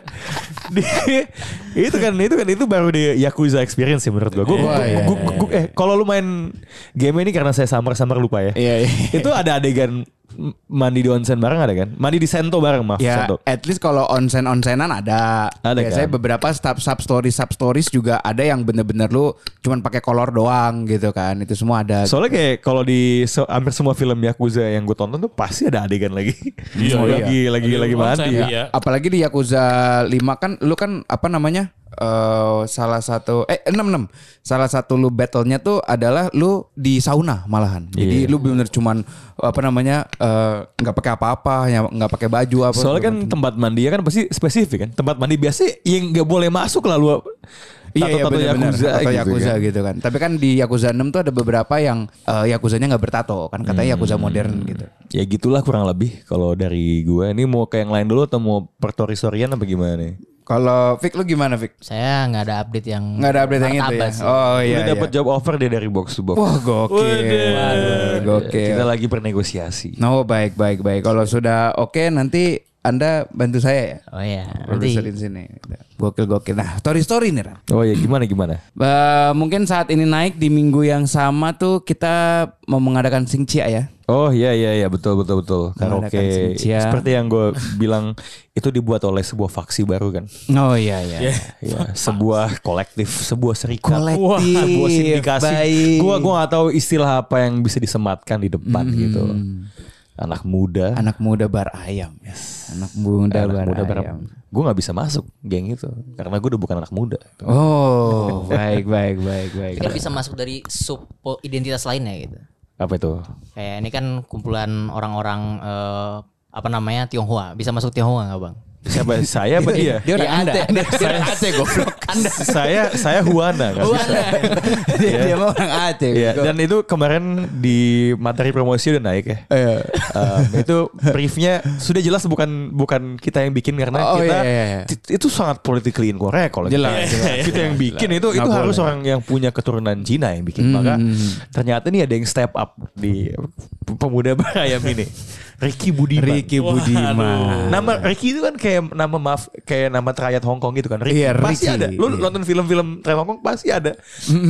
[SPEAKER 2] Di- itu kan itu kan itu baru di Yakuza experience sih menurut gua. Gua, gua-
[SPEAKER 3] Wah, iya,
[SPEAKER 2] gua- gua- gua- eh kalau lu main game ini karena saya samar-samar lupa ya.
[SPEAKER 3] Iya, iya.
[SPEAKER 2] Itu ada adegan m- mandi di onsen bareng ada kan? Mandi di sento bareng maaf
[SPEAKER 3] Ya,
[SPEAKER 2] sento.
[SPEAKER 3] at least kalau onsen-onsenan ada.
[SPEAKER 2] Ada
[SPEAKER 3] Biasanya
[SPEAKER 2] kan?
[SPEAKER 3] beberapa sub sub stories sub stories juga ada yang bener-bener lu cuman pakai kolor doang gitu kan. Itu semua ada.
[SPEAKER 2] Soalnya kayak kalau di so, hampir semua film Yakuza yang gue tonton tuh pasti ada adegan lagi.
[SPEAKER 5] Iya,
[SPEAKER 2] lagi,
[SPEAKER 5] iya.
[SPEAKER 2] lagi
[SPEAKER 5] Lagi
[SPEAKER 2] lagi
[SPEAKER 5] onsen,
[SPEAKER 2] mandi.
[SPEAKER 5] iya.
[SPEAKER 3] Apalagi di Yakuza 5 kan lu kan apa namanya? eh salah satu eh 66 salah satu lu battle-nya tuh adalah lu di sauna malahan. Jadi
[SPEAKER 2] Iya.
[SPEAKER 3] lu bener cuman apa namanya? eh, nggak pakai apa-apa, ya, nggak pakai baju apa
[SPEAKER 2] Soalnya kan tempat mandi kan pasti spesifik kan. Tempat mandi biasa yang nggak boleh masuk lah lu.
[SPEAKER 3] Iya, iya
[SPEAKER 2] Tato-tato
[SPEAKER 3] benar-benar.
[SPEAKER 2] Yakuza
[SPEAKER 3] Atau
[SPEAKER 2] gitu
[SPEAKER 3] Yakuza
[SPEAKER 2] kan.
[SPEAKER 3] gitu kan. Tapi kan di Yakuza 6 tuh ada beberapa yang eh, Yakuzanya nggak bertato kan katanya Yakuza modern gitu.
[SPEAKER 2] Ya gitulah kurang lebih kalau dari gue. Ini mau ke yang lain dulu atau mau pertori-storian apa gimana nih?
[SPEAKER 3] Kalau Vic lu gimana Vic?
[SPEAKER 4] Saya nggak ada update yang
[SPEAKER 3] Nggak ada update yang itu ya?
[SPEAKER 4] martabak sih.
[SPEAKER 3] Oh iya.
[SPEAKER 2] Udah dapat
[SPEAKER 3] iya.
[SPEAKER 2] job offer dia dari box to box.
[SPEAKER 3] Wah gokil. Waduh, Gokil.
[SPEAKER 2] Kita lagi bernegosiasi.
[SPEAKER 3] No baik baik baik. Kalau sudah oke nanti anda bantu saya ya.
[SPEAKER 4] Oh iya. Nanti
[SPEAKER 3] Produserin sini. Gokil gokil. Nah story story nih Ran.
[SPEAKER 2] Oh ya gimana gimana?
[SPEAKER 3] Eh, mungkin saat ini naik di minggu yang sama tuh kita mau mengadakan singcia ya.
[SPEAKER 2] Oh iya iya iya betul betul betul. Karaoke.
[SPEAKER 3] Mengadakan senja.
[SPEAKER 2] Seperti yang gue bilang itu dibuat oleh sebuah faksi baru kan.
[SPEAKER 3] Oh iya
[SPEAKER 2] Ya,
[SPEAKER 3] iya.
[SPEAKER 2] sebuah kolektif, sebuah serikat,
[SPEAKER 3] Kolektif,
[SPEAKER 2] Wah, sebuah sindikasi.
[SPEAKER 3] baik. Hmm.
[SPEAKER 2] Gua gua gak tahu istilah apa yang bisa disematkan di depan gitu. Anak muda,
[SPEAKER 3] Anak muda bar ayam. Kan? Anak
[SPEAKER 2] anak
[SPEAKER 3] muda bar
[SPEAKER 2] muda berapa?
[SPEAKER 3] ayam.
[SPEAKER 2] Gue nggak bisa masuk geng itu karena gue udah bukan anak muda.
[SPEAKER 3] Oh, baik baik baik baik.
[SPEAKER 4] mungkin bisa masuk dari sub identitas lainnya gitu.
[SPEAKER 2] Apa itu?
[SPEAKER 4] Kayak ini kan kumpulan orang-orang eh, apa namanya Tionghoa. Bisa masuk Tionghoa nggak bang?
[SPEAKER 2] Siapa saya apa dia?
[SPEAKER 3] Dia orang
[SPEAKER 4] Ya,
[SPEAKER 3] Anda. kan.
[SPEAKER 4] Anda.
[SPEAKER 3] Dia orang Aceh goblok.
[SPEAKER 2] saya saya Huana nggak bisa.
[SPEAKER 3] Dia dia mah orang Aceh.
[SPEAKER 2] Iya,
[SPEAKER 3] goblok.
[SPEAKER 2] dan itu kemarin di materi promosi udah naik ya.
[SPEAKER 3] Iya.
[SPEAKER 2] Um, itu briefnya sudah jelas bukan bukan kita yang bikin karena
[SPEAKER 3] Oh,
[SPEAKER 2] kita
[SPEAKER 3] iya, iya, iya.
[SPEAKER 2] ti- itu sangat politically incorrect kalau
[SPEAKER 3] Jelas,
[SPEAKER 2] kita, kita yang bikin itu itu
[SPEAKER 3] Nggak
[SPEAKER 2] harus
[SPEAKER 3] boleh. Hmm,
[SPEAKER 2] orang yang punya keturunan Cina yang bikin maka ternyata nih ada yang step up di p- pemuda berayam ini Ricky Budiman
[SPEAKER 3] Ricky Budiman.
[SPEAKER 2] nama Ricky itu kan kayak nama maaf kayak nama rakyat Hong Kong gitu kan Ricky
[SPEAKER 3] Iya,
[SPEAKER 2] pasti
[SPEAKER 3] Ricky.
[SPEAKER 2] ada lu
[SPEAKER 3] Iya.
[SPEAKER 2] nonton film-film rakyat Hong Kong pasti ada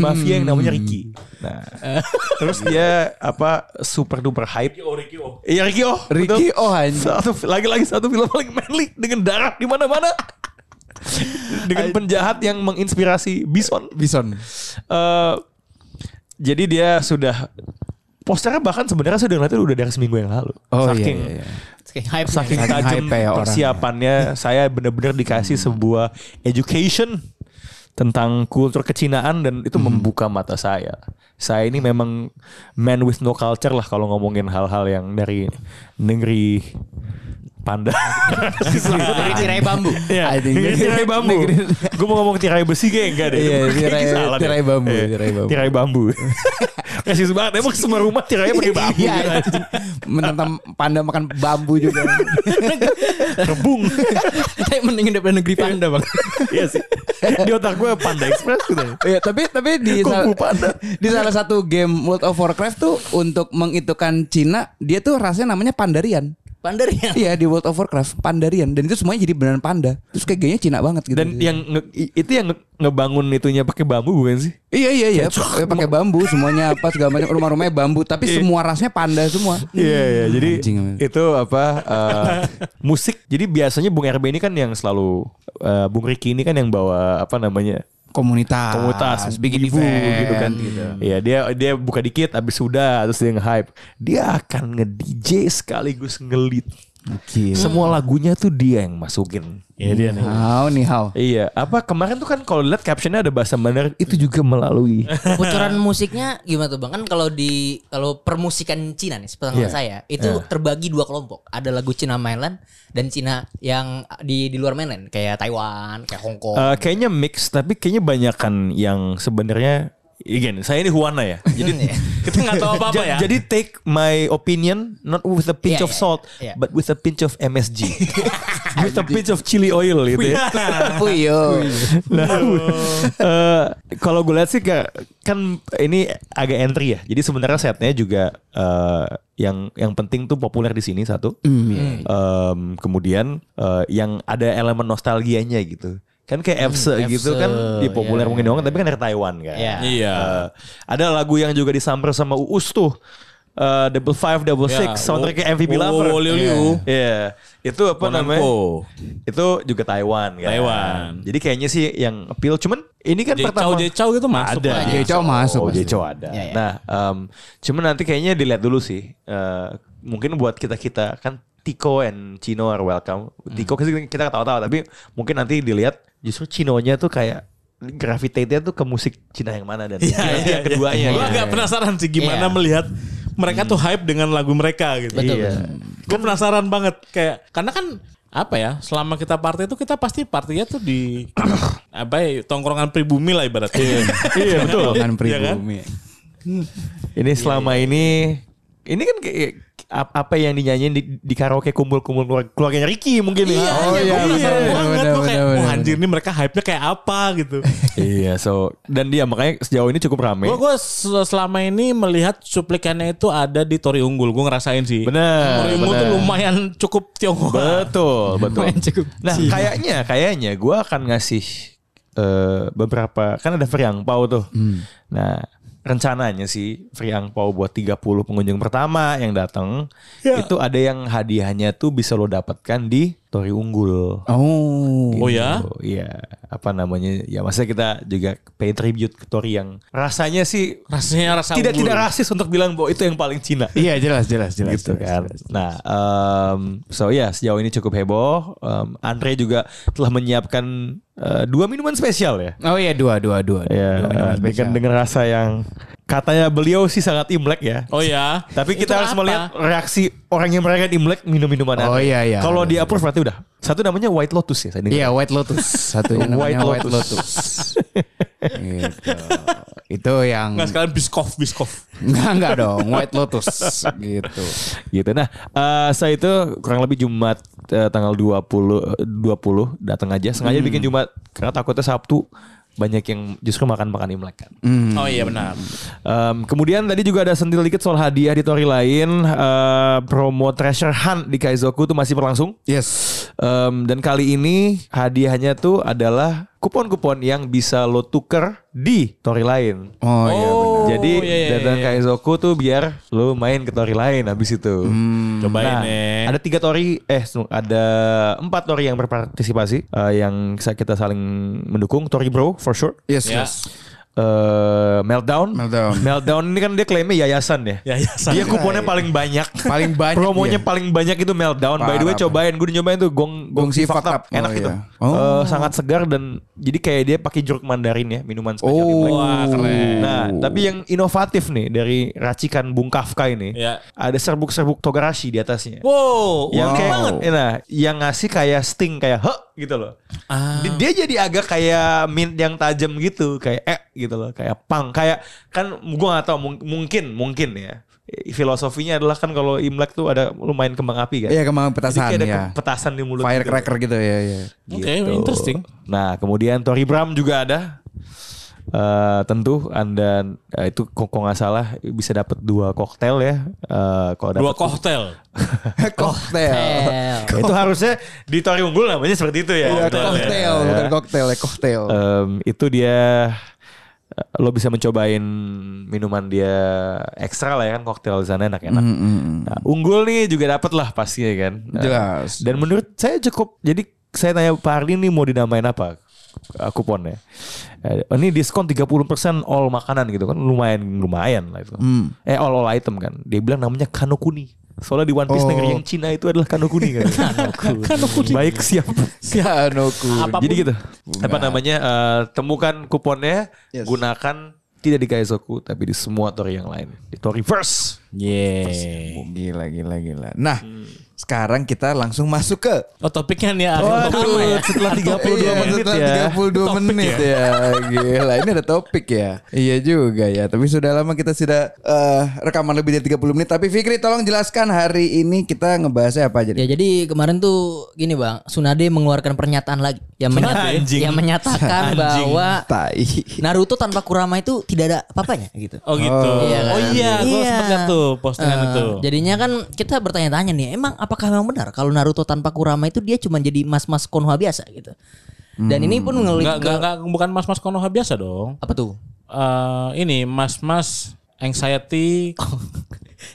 [SPEAKER 2] mafia yang namanya Ricky nah terus dia apa super duper hype
[SPEAKER 5] Oh, Ricky, oh.
[SPEAKER 2] Iya Ricky Oh.
[SPEAKER 3] Ricky
[SPEAKER 2] betul.
[SPEAKER 3] Oh, anjing.
[SPEAKER 2] Satu lagi-lagi satu film paling manly dengan darah di mana-mana. dengan penjahat yang menginspirasi Bison.
[SPEAKER 3] Bison.
[SPEAKER 2] Eh, jadi dia sudah posternya bahkan sebenarnya saya udah ngeliatnya udah dari seminggu yang lalu.
[SPEAKER 3] Oh iya,
[SPEAKER 2] saking
[SPEAKER 3] iya, iya.
[SPEAKER 4] Saking hype gitu.
[SPEAKER 2] saking
[SPEAKER 3] Saking
[SPEAKER 2] tajam
[SPEAKER 3] hype ya orangnya.
[SPEAKER 2] persiapannya saya benar-benar dikasih sebuah education tentang kultur kecinaan dan
[SPEAKER 3] Mhm.
[SPEAKER 2] itu membuka mata saya. Saya ini memang man with no culture lah kalau ngomongin hal-hal yang dari negeri panda.
[SPEAKER 4] Dari tirai bambu.
[SPEAKER 2] Ya,
[SPEAKER 3] I think-
[SPEAKER 2] negeri tirai bambu.
[SPEAKER 3] Negeri-
[SPEAKER 2] Gue mau ngomong tirai besi kayak enggak deh.
[SPEAKER 3] Iya,
[SPEAKER 2] Kayaknya
[SPEAKER 3] tirai-
[SPEAKER 2] salah deh.
[SPEAKER 3] tirai bambu,
[SPEAKER 2] Iya,
[SPEAKER 3] tirai bambu.
[SPEAKER 2] Tirai bambu. Kasih banget emang semua rumah tirainya pakai bambu.
[SPEAKER 3] Iya, anjing. menentang panda makan bambu juga.
[SPEAKER 2] Rebung.
[SPEAKER 4] Saya mendingin daripada negeri panda bang.
[SPEAKER 2] Iya sih. Di otak gue Panda Express gitu.
[SPEAKER 3] Iya, tapi tapi di
[SPEAKER 2] Kung
[SPEAKER 3] sal-
[SPEAKER 2] Fu Panda.
[SPEAKER 3] di salah satu game World of Warcraft tuh untuk mengitukan Cina, dia tuh rasanya namanya Pandarian.
[SPEAKER 4] Pandarian.
[SPEAKER 3] Iya di World of Warcraft Pandarian dan itu semuanya jadi beneran panda. Terus kayak gayanya Cina banget gitu.
[SPEAKER 2] Dan yang nge- i- itu yang nge- ngebangun itunya pakai bambu bukan sih?
[SPEAKER 3] Iya iya iya pakai pakai bambu semuanya apa segala macam rumah-rumahnya bambu tapi semua rasnya panda semua.
[SPEAKER 2] Iya iya jadi
[SPEAKER 3] Hmm, Anjing.
[SPEAKER 2] itu apa eh, musik jadi biasanya Bung RB ini kan yang selalu eh, Bung Riki ini kan yang bawa apa namanya
[SPEAKER 3] Komunitas,
[SPEAKER 2] komunitas
[SPEAKER 3] Ah, bikin
[SPEAKER 2] ibu
[SPEAKER 3] event,
[SPEAKER 2] gitu kan Iya dia dia buka dikit abis sudah terus dia nge-hype dia akan nge DJ sekaligus ngelit
[SPEAKER 3] Hmm. Gila.
[SPEAKER 2] semua lagunya tuh dia yang masukin
[SPEAKER 5] Iya dia nih.
[SPEAKER 3] How nih how.
[SPEAKER 2] Iya, apa kemarin tuh kan kalau lihat captionnya ada bahasa Mandarin itu juga melalui.
[SPEAKER 4] Bocoran musiknya gimana tuh bang? Kan kalau di kalau permusikan Cina nih,
[SPEAKER 2] Iya.
[SPEAKER 4] sepengetahuan saya itu terbagi dua kelompok. Ada lagu Cina mainland dan Cina yang di di luar mainland kayak Taiwan, kayak Hong Kong.
[SPEAKER 2] Eh, kayaknya mix tapi kayaknya banyakan yang sebenarnya again saya ini Huana ya. Jadi
[SPEAKER 5] Kita nggak tahu apa-apa
[SPEAKER 2] Ja-
[SPEAKER 5] ya.
[SPEAKER 2] Jadi take my opinion not with a pinch
[SPEAKER 4] Iya,
[SPEAKER 2] of
[SPEAKER 4] iya,
[SPEAKER 2] salt
[SPEAKER 4] iya.
[SPEAKER 2] but with a pinch of MSG. with a pinch of chili oil gitu ya.
[SPEAKER 3] Puyo.
[SPEAKER 2] Nah, eh, kalau gue lihat sih kayak- kan ini agak entry ya. Jadi sebenarnya setnya juga eh, yang yang penting tuh populer di sini satu.
[SPEAKER 4] Hmm, iya,
[SPEAKER 2] Em, kemudian eh, yang ada elemen nostalgianya gitu. Kan kayak
[SPEAKER 4] Hmm,
[SPEAKER 2] EFSE gitu
[SPEAKER 4] EFSE,
[SPEAKER 2] kan di populer
[SPEAKER 4] E, iya,
[SPEAKER 2] mungkin doang tapi kan dari Taiwan kan.
[SPEAKER 4] Iya.
[SPEAKER 5] Iya.
[SPEAKER 2] Eh, ada lagu yang juga disamper sama Uus tuh. Eh, double Five, Double
[SPEAKER 5] Ya,
[SPEAKER 2] Six, soundtracknya MVP
[SPEAKER 5] Wo-
[SPEAKER 2] Lover.
[SPEAKER 5] Wo- Wo- Liu- Liu.
[SPEAKER 2] Iya. Itu apa namanya?
[SPEAKER 5] Konanko.
[SPEAKER 2] Itu juga Taiwan kan.
[SPEAKER 5] Taiwan.
[SPEAKER 2] Jadi kayaknya sih yang appeal. Cuman ini kan pertama.
[SPEAKER 5] Jecau-jecau gitu masuk
[SPEAKER 2] ada.
[SPEAKER 5] lah.
[SPEAKER 3] Jecau masuk
[SPEAKER 2] Oh
[SPEAKER 3] pasti.
[SPEAKER 2] Jeco ada.
[SPEAKER 4] Ah, Ya, ya.
[SPEAKER 2] Nah em, cuman nanti kayaknya dilihat dulu sih. Eh, mungkin buat kita-kita kan Tiko and Cino are welcome. Tiko kita kita ketawa-tawa tapi mungkin nanti dilihat justru Cinonya tuh kayak gravitate-nya tuh ke musik Cina yang mana dan
[SPEAKER 5] Iya,
[SPEAKER 3] iya,
[SPEAKER 2] nanti yang keduanya.
[SPEAKER 5] Gue agak penasaran sih gimana
[SPEAKER 4] Iya.
[SPEAKER 5] melihat mereka tuh hype dengan lagu mereka gitu.
[SPEAKER 4] Betul.
[SPEAKER 2] Iya.
[SPEAKER 5] Gue penasaran banget kayak karena kan apa ya selama kita party itu kita pasti partinya tuh di apa ya tongkrongan pribumi lah ibaratnya.
[SPEAKER 2] Iya betul.
[SPEAKER 3] Makan
[SPEAKER 5] Iya kan?
[SPEAKER 3] pribumi.
[SPEAKER 2] Ini selama ini ini kan kayak ap- apa yang dinyanyiin di, di karaoke kumpul-kumpul keluar- keluarganya Ricky mungkin ya.
[SPEAKER 3] Oh, iya,
[SPEAKER 5] Gua penasaran
[SPEAKER 3] benar, benar,
[SPEAKER 5] banget gue kayak
[SPEAKER 3] benar,
[SPEAKER 5] wah
[SPEAKER 3] benar.
[SPEAKER 5] anjir nih mereka hype-nya kayak apa gitu.
[SPEAKER 2] Iya, so dan dia makanya sejauh ini cukup rame.
[SPEAKER 5] Gue gue selama ini melihat cuplikannya itu ada di Tori Unggul. Gue ngerasain sih.
[SPEAKER 2] Benar,
[SPEAKER 5] Tori Unggul tuh
[SPEAKER 2] benar.
[SPEAKER 5] lumayan cukup Tionghoa.
[SPEAKER 2] Betul, betul.
[SPEAKER 4] Lumayan cukup
[SPEAKER 2] Nah, kayaknya kayaknya gue akan ngasih eh, beberapa kan ada free angpau tuh.
[SPEAKER 5] Hmm.
[SPEAKER 2] Nah, rencananya sih free angpau buat 30 pengunjung pertama yang datang
[SPEAKER 5] Ya.
[SPEAKER 2] itu ada yang hadiahnya tuh bisa lo dapatkan di Tori Unggul.
[SPEAKER 3] Oh.
[SPEAKER 5] Oh ya?
[SPEAKER 2] Gitu. Iya, apa namanya? Ya maksudnya kita juga pay tribute ke Tori yang rasanya sih
[SPEAKER 5] Rasanya rasa
[SPEAKER 2] tidak
[SPEAKER 5] unggul.
[SPEAKER 2] tidak rasis untuk bilang bahwa itu yang paling Cina.
[SPEAKER 3] Iya jelas jelas jelas.
[SPEAKER 2] gitu
[SPEAKER 3] jelas,
[SPEAKER 2] kan.
[SPEAKER 3] jelas.
[SPEAKER 2] Nah, em, so ya sejauh ini cukup heboh. Em, Andre juga telah menyiapkan eh, dua minuman spesial ya.
[SPEAKER 3] Oh iya dua dua dua. dua,
[SPEAKER 2] Ya,
[SPEAKER 3] dua minuman
[SPEAKER 2] eh, dengan
[SPEAKER 3] spesial.
[SPEAKER 2] dengan rasa yang katanya beliau sih sangat imlek ya.
[SPEAKER 5] Oh ya.
[SPEAKER 2] Tapi
[SPEAKER 5] Itu
[SPEAKER 2] kita harus
[SPEAKER 5] apa?
[SPEAKER 2] melihat reaksi orang yang merayakan imlek minum minuman
[SPEAKER 3] Oh,
[SPEAKER 2] Andre.
[SPEAKER 3] iya, iya.
[SPEAKER 2] Kalau dia approve berarti udah. Satu namanya White Lotus ya saya dengar.
[SPEAKER 3] Iya White Lotus satunya namanya
[SPEAKER 2] White
[SPEAKER 3] White,
[SPEAKER 2] Lotus.
[SPEAKER 3] Lotus. gitu. Itu yang
[SPEAKER 5] Nggak sekalian biskof, biskof.
[SPEAKER 3] enggak enggak dong White Lotus gitu.
[SPEAKER 2] gitu. Nah, eh saya itu kurang lebih Jumat eh, tanggal 20 eh, 20 datang aja. Sengaja
[SPEAKER 3] Hmm.
[SPEAKER 2] bikin Jumat karena takutnya Sabtu banyak yang justru makan-makan Imlek kan.
[SPEAKER 5] Oh iya benar.
[SPEAKER 2] Em, kemudian tadi juga ada sentil dikit soal hadiah di Tori lain. Eh, promo Treasure Hunt di Kaizoku tuh masih berlangsung.
[SPEAKER 3] Yes.
[SPEAKER 2] Em, dan kali ini hadiahnya tuh adalah kupon-kupon yang bisa lo tuker di Tori lain.
[SPEAKER 3] Oh, iya benar.
[SPEAKER 2] Jadi
[SPEAKER 5] iya, iya,
[SPEAKER 2] datang
[SPEAKER 5] iya.
[SPEAKER 2] ke Izoku tuh biar lo main ke Tori lain habis itu.
[SPEAKER 5] Hmm, Cobain
[SPEAKER 2] Nah,
[SPEAKER 5] nih.
[SPEAKER 2] ada tiga tori, eh snu- ada empat tori yang berpartisipasi eh, yang sa- kita saling mendukung. Tori Bro for sure.
[SPEAKER 3] Yes,
[SPEAKER 5] Ya.
[SPEAKER 3] yes.
[SPEAKER 2] Eh eh, meltdown.
[SPEAKER 3] Meltdown.
[SPEAKER 2] Meltdown ini kan dia klaimnya yayasan ya.
[SPEAKER 5] Yayasan.
[SPEAKER 2] Dia kuponnya paling banyak.
[SPEAKER 3] Iya. Paling banyak
[SPEAKER 2] Promonya
[SPEAKER 3] dia.
[SPEAKER 2] paling banyak itu meltdown. By the way
[SPEAKER 3] Parah.
[SPEAKER 2] cobain, gue udah nyobain tuh gong gongsi
[SPEAKER 3] Gongsi Fucked
[SPEAKER 2] fakta.
[SPEAKER 3] Up.
[SPEAKER 2] Enak
[SPEAKER 3] Oh,
[SPEAKER 2] gitu.
[SPEAKER 3] iya.
[SPEAKER 2] Eh,
[SPEAKER 3] Oh.
[SPEAKER 2] sangat segar dan jadi kayak dia pakai jeruk mandarin ya minuman spesial
[SPEAKER 3] Oh.
[SPEAKER 2] Imlek.
[SPEAKER 3] Wah, keren.
[SPEAKER 2] Nah, tapi yang inovatif nih dari racikan Bung Kafka ini.
[SPEAKER 5] Iya.
[SPEAKER 2] Ada serbuk-serbuk togarashi di atasnya.
[SPEAKER 5] Wow,
[SPEAKER 2] Yang
[SPEAKER 5] wow.
[SPEAKER 2] kayak
[SPEAKER 5] banget.
[SPEAKER 2] eh, Nah, yang ngasih kayak sting kayak he gitu loh.
[SPEAKER 5] Ah.
[SPEAKER 2] Di- Dia jadi agak kayak mint yang tajam gitu, kayak eh gitu loh, kayak pang, kayak kan gua nggak tahu mung- mungkin mungkin ya. Eh, Filosofinya adalah kan kalau Imlek tuh ada lumayan kembang api kan.
[SPEAKER 3] Iya kemang
[SPEAKER 2] Jadi
[SPEAKER 3] petasan
[SPEAKER 2] kayak ada
[SPEAKER 3] ya.
[SPEAKER 2] ke- petasan di mulut. gitu.
[SPEAKER 3] Firecracker gitu ya. ya.
[SPEAKER 5] Oke, interesting.
[SPEAKER 2] Nah, kemudian Tori Bram juga ada. Eh, tentu Anda eh, itu kok kok nggak salah bisa dapat dua koktail ya. Eh, kalau
[SPEAKER 5] Dua
[SPEAKER 2] dapat
[SPEAKER 5] koktel.
[SPEAKER 3] Cocktail.
[SPEAKER 4] Eh,
[SPEAKER 2] itu harusnya di Tori Unggul namanya seperti itu ya.
[SPEAKER 3] Iya,
[SPEAKER 2] Koktail ya.
[SPEAKER 3] cocktail, bukan cocktail ya, cocktail.
[SPEAKER 2] Em, itu dia eh, lo bisa mencobain minuman dia ekstra lah ya kan koktail di sana enak-enak.
[SPEAKER 3] Mm, mm, mm.
[SPEAKER 2] Nah, unggul nih juga dapat lah pastinya kan. Nah,
[SPEAKER 3] Jelas.
[SPEAKER 2] Dan menurut saya cukup. Jadi saya tanya Pak Ardi nih mau dinamain apa eh, kuponnya? Eh, Ini diskon 30% all makanan gitu kan lumayan lumayan lah itu. Eh all all item kan. Dia bilang namanya Kanokuni. Soalnya di One Piece
[SPEAKER 3] Oh.
[SPEAKER 2] negeri yang Cina itu adalah Kanokuni kan. Kanokuni. Baik siap.
[SPEAKER 3] Sianoku.
[SPEAKER 5] Apapun.
[SPEAKER 2] Jadi gitu. Apa namanya? eh, temukan kuponnya,
[SPEAKER 3] Yes.
[SPEAKER 2] gunakan tidak di Kaizoku tapi di semua tori yang lain. Di tori first.
[SPEAKER 5] Yeah.
[SPEAKER 3] Gila, gila, gila. Nah, sekarang kita langsung masuk ke
[SPEAKER 5] Oh topiknya nih Arif pertama ya.
[SPEAKER 2] setelah 32
[SPEAKER 3] Iya,
[SPEAKER 2] menit
[SPEAKER 3] setelah
[SPEAKER 2] ya.
[SPEAKER 3] 32 menit ya. Gila, ini ada topik ya. Iya juga ya. Tapi sudah lama kita sudah eh, rekaman lebih dari 30 menit. Tapi Fikri tolong jelaskan hari ini kita ngebahasnya apa aja.
[SPEAKER 4] Ya
[SPEAKER 3] nih?
[SPEAKER 4] jadi kemarin tuh gini bang, Sunade mengeluarkan pernyataan lagi yang, menyata-
[SPEAKER 5] Anjing.
[SPEAKER 4] yang menyatakan bahwa
[SPEAKER 3] Tai.
[SPEAKER 4] Naruto tanpa Kurama itu tidak ada apa-apanya gitu.
[SPEAKER 5] Oh gitu.
[SPEAKER 4] Iya kan?
[SPEAKER 5] Oh iya, gue
[SPEAKER 4] Iya.
[SPEAKER 5] sempet liat tuh postingan
[SPEAKER 4] Eh,
[SPEAKER 5] itu.
[SPEAKER 4] Jadinya kan kita bertanya-tanya nih, emang apakah memang benar kalau Naruto tanpa Kurama itu dia cuma jadi mas-mas Konoha biasa gitu. Dan ini pun ngelik
[SPEAKER 5] Enggak,
[SPEAKER 4] ke
[SPEAKER 5] enggak, enggak, bukan mas-mas Konoha biasa dong.
[SPEAKER 4] apa tuh?
[SPEAKER 5] Eh ini mas-mas anxiety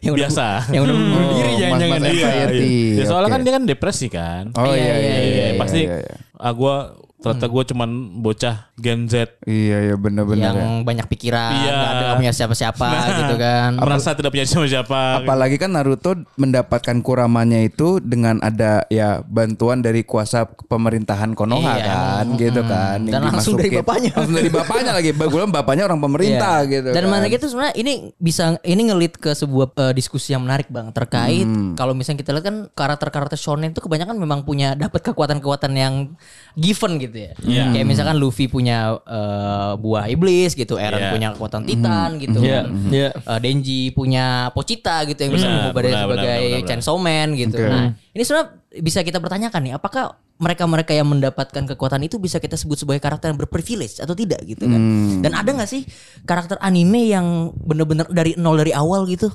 [SPEAKER 4] Yang udah-
[SPEAKER 5] biasa.
[SPEAKER 4] yang udah bunuh
[SPEAKER 3] Oh,
[SPEAKER 4] diri.
[SPEAKER 5] jangan-jangan.
[SPEAKER 3] mas-mas
[SPEAKER 5] Iya,
[SPEAKER 3] anxiety.
[SPEAKER 5] Ya, soalnya
[SPEAKER 3] Oke.
[SPEAKER 5] kan dia kan depresi kan.
[SPEAKER 3] Oh iya iya
[SPEAKER 5] Iya,
[SPEAKER 3] iya. iya,
[SPEAKER 5] pasti
[SPEAKER 3] iya, iya.
[SPEAKER 5] ah gue ternyata gue cuman bocah Gen Z
[SPEAKER 3] Iya iya benar-benar.
[SPEAKER 4] yang
[SPEAKER 3] ya.
[SPEAKER 4] banyak pikiran,
[SPEAKER 5] Iya. Nah.
[SPEAKER 4] nggak ada nggak punya siapa-siapa gitu kan.
[SPEAKER 5] merasa tidak punya siapa-siapa.
[SPEAKER 3] Apalagi kan Naruto mendapatkan kuramanya itu dengan ada ya bantuan dari kuasa pemerintahan Konoha
[SPEAKER 4] Iya.
[SPEAKER 3] kan gitu kan. Yang
[SPEAKER 4] Dan langsung dari
[SPEAKER 3] dimasukin.
[SPEAKER 4] bapaknya.
[SPEAKER 3] Langsung dari bapaknya lagi. Bagulan bapaknya orang pemerintah
[SPEAKER 4] Iya.
[SPEAKER 3] gitu.
[SPEAKER 4] Dan
[SPEAKER 3] kan.
[SPEAKER 4] mana gitu sebenarnya ini bisa ini ngelit ke sebuah eh, diskusi yang menarik bang terkait
[SPEAKER 3] Hmm.
[SPEAKER 4] kalau misalnya kita lihat kan karakter-karakter shonen itu kebanyakan memang punya dapat kekuatan-kekuatan yang given gitu ya.
[SPEAKER 2] Iya.
[SPEAKER 4] Kayak
[SPEAKER 2] Hmm.
[SPEAKER 4] misalkan Luffy punya eh, buah iblis gitu, Eren
[SPEAKER 5] Iya.
[SPEAKER 4] punya kekuatan Titan gitu.
[SPEAKER 2] Iya,
[SPEAKER 4] kan.
[SPEAKER 2] iya.
[SPEAKER 4] Eh, Denji punya Pochita gitu yang bisa
[SPEAKER 5] Benar,
[SPEAKER 4] mengubah dia
[SPEAKER 5] benar, benar,
[SPEAKER 4] sebagai
[SPEAKER 5] benar, benar.
[SPEAKER 4] Chainsaw Man gitu. Nah, ini sebenarnya bisa kita pertanyakan nih apakah mereka-mereka yang mendapatkan kekuatan itu bisa kita sebut sebagai karakter yang berprivilege atau tidak gitu kan. Dan ada nggak sih karakter anime yang bener-bener dari nol dari awal gitu?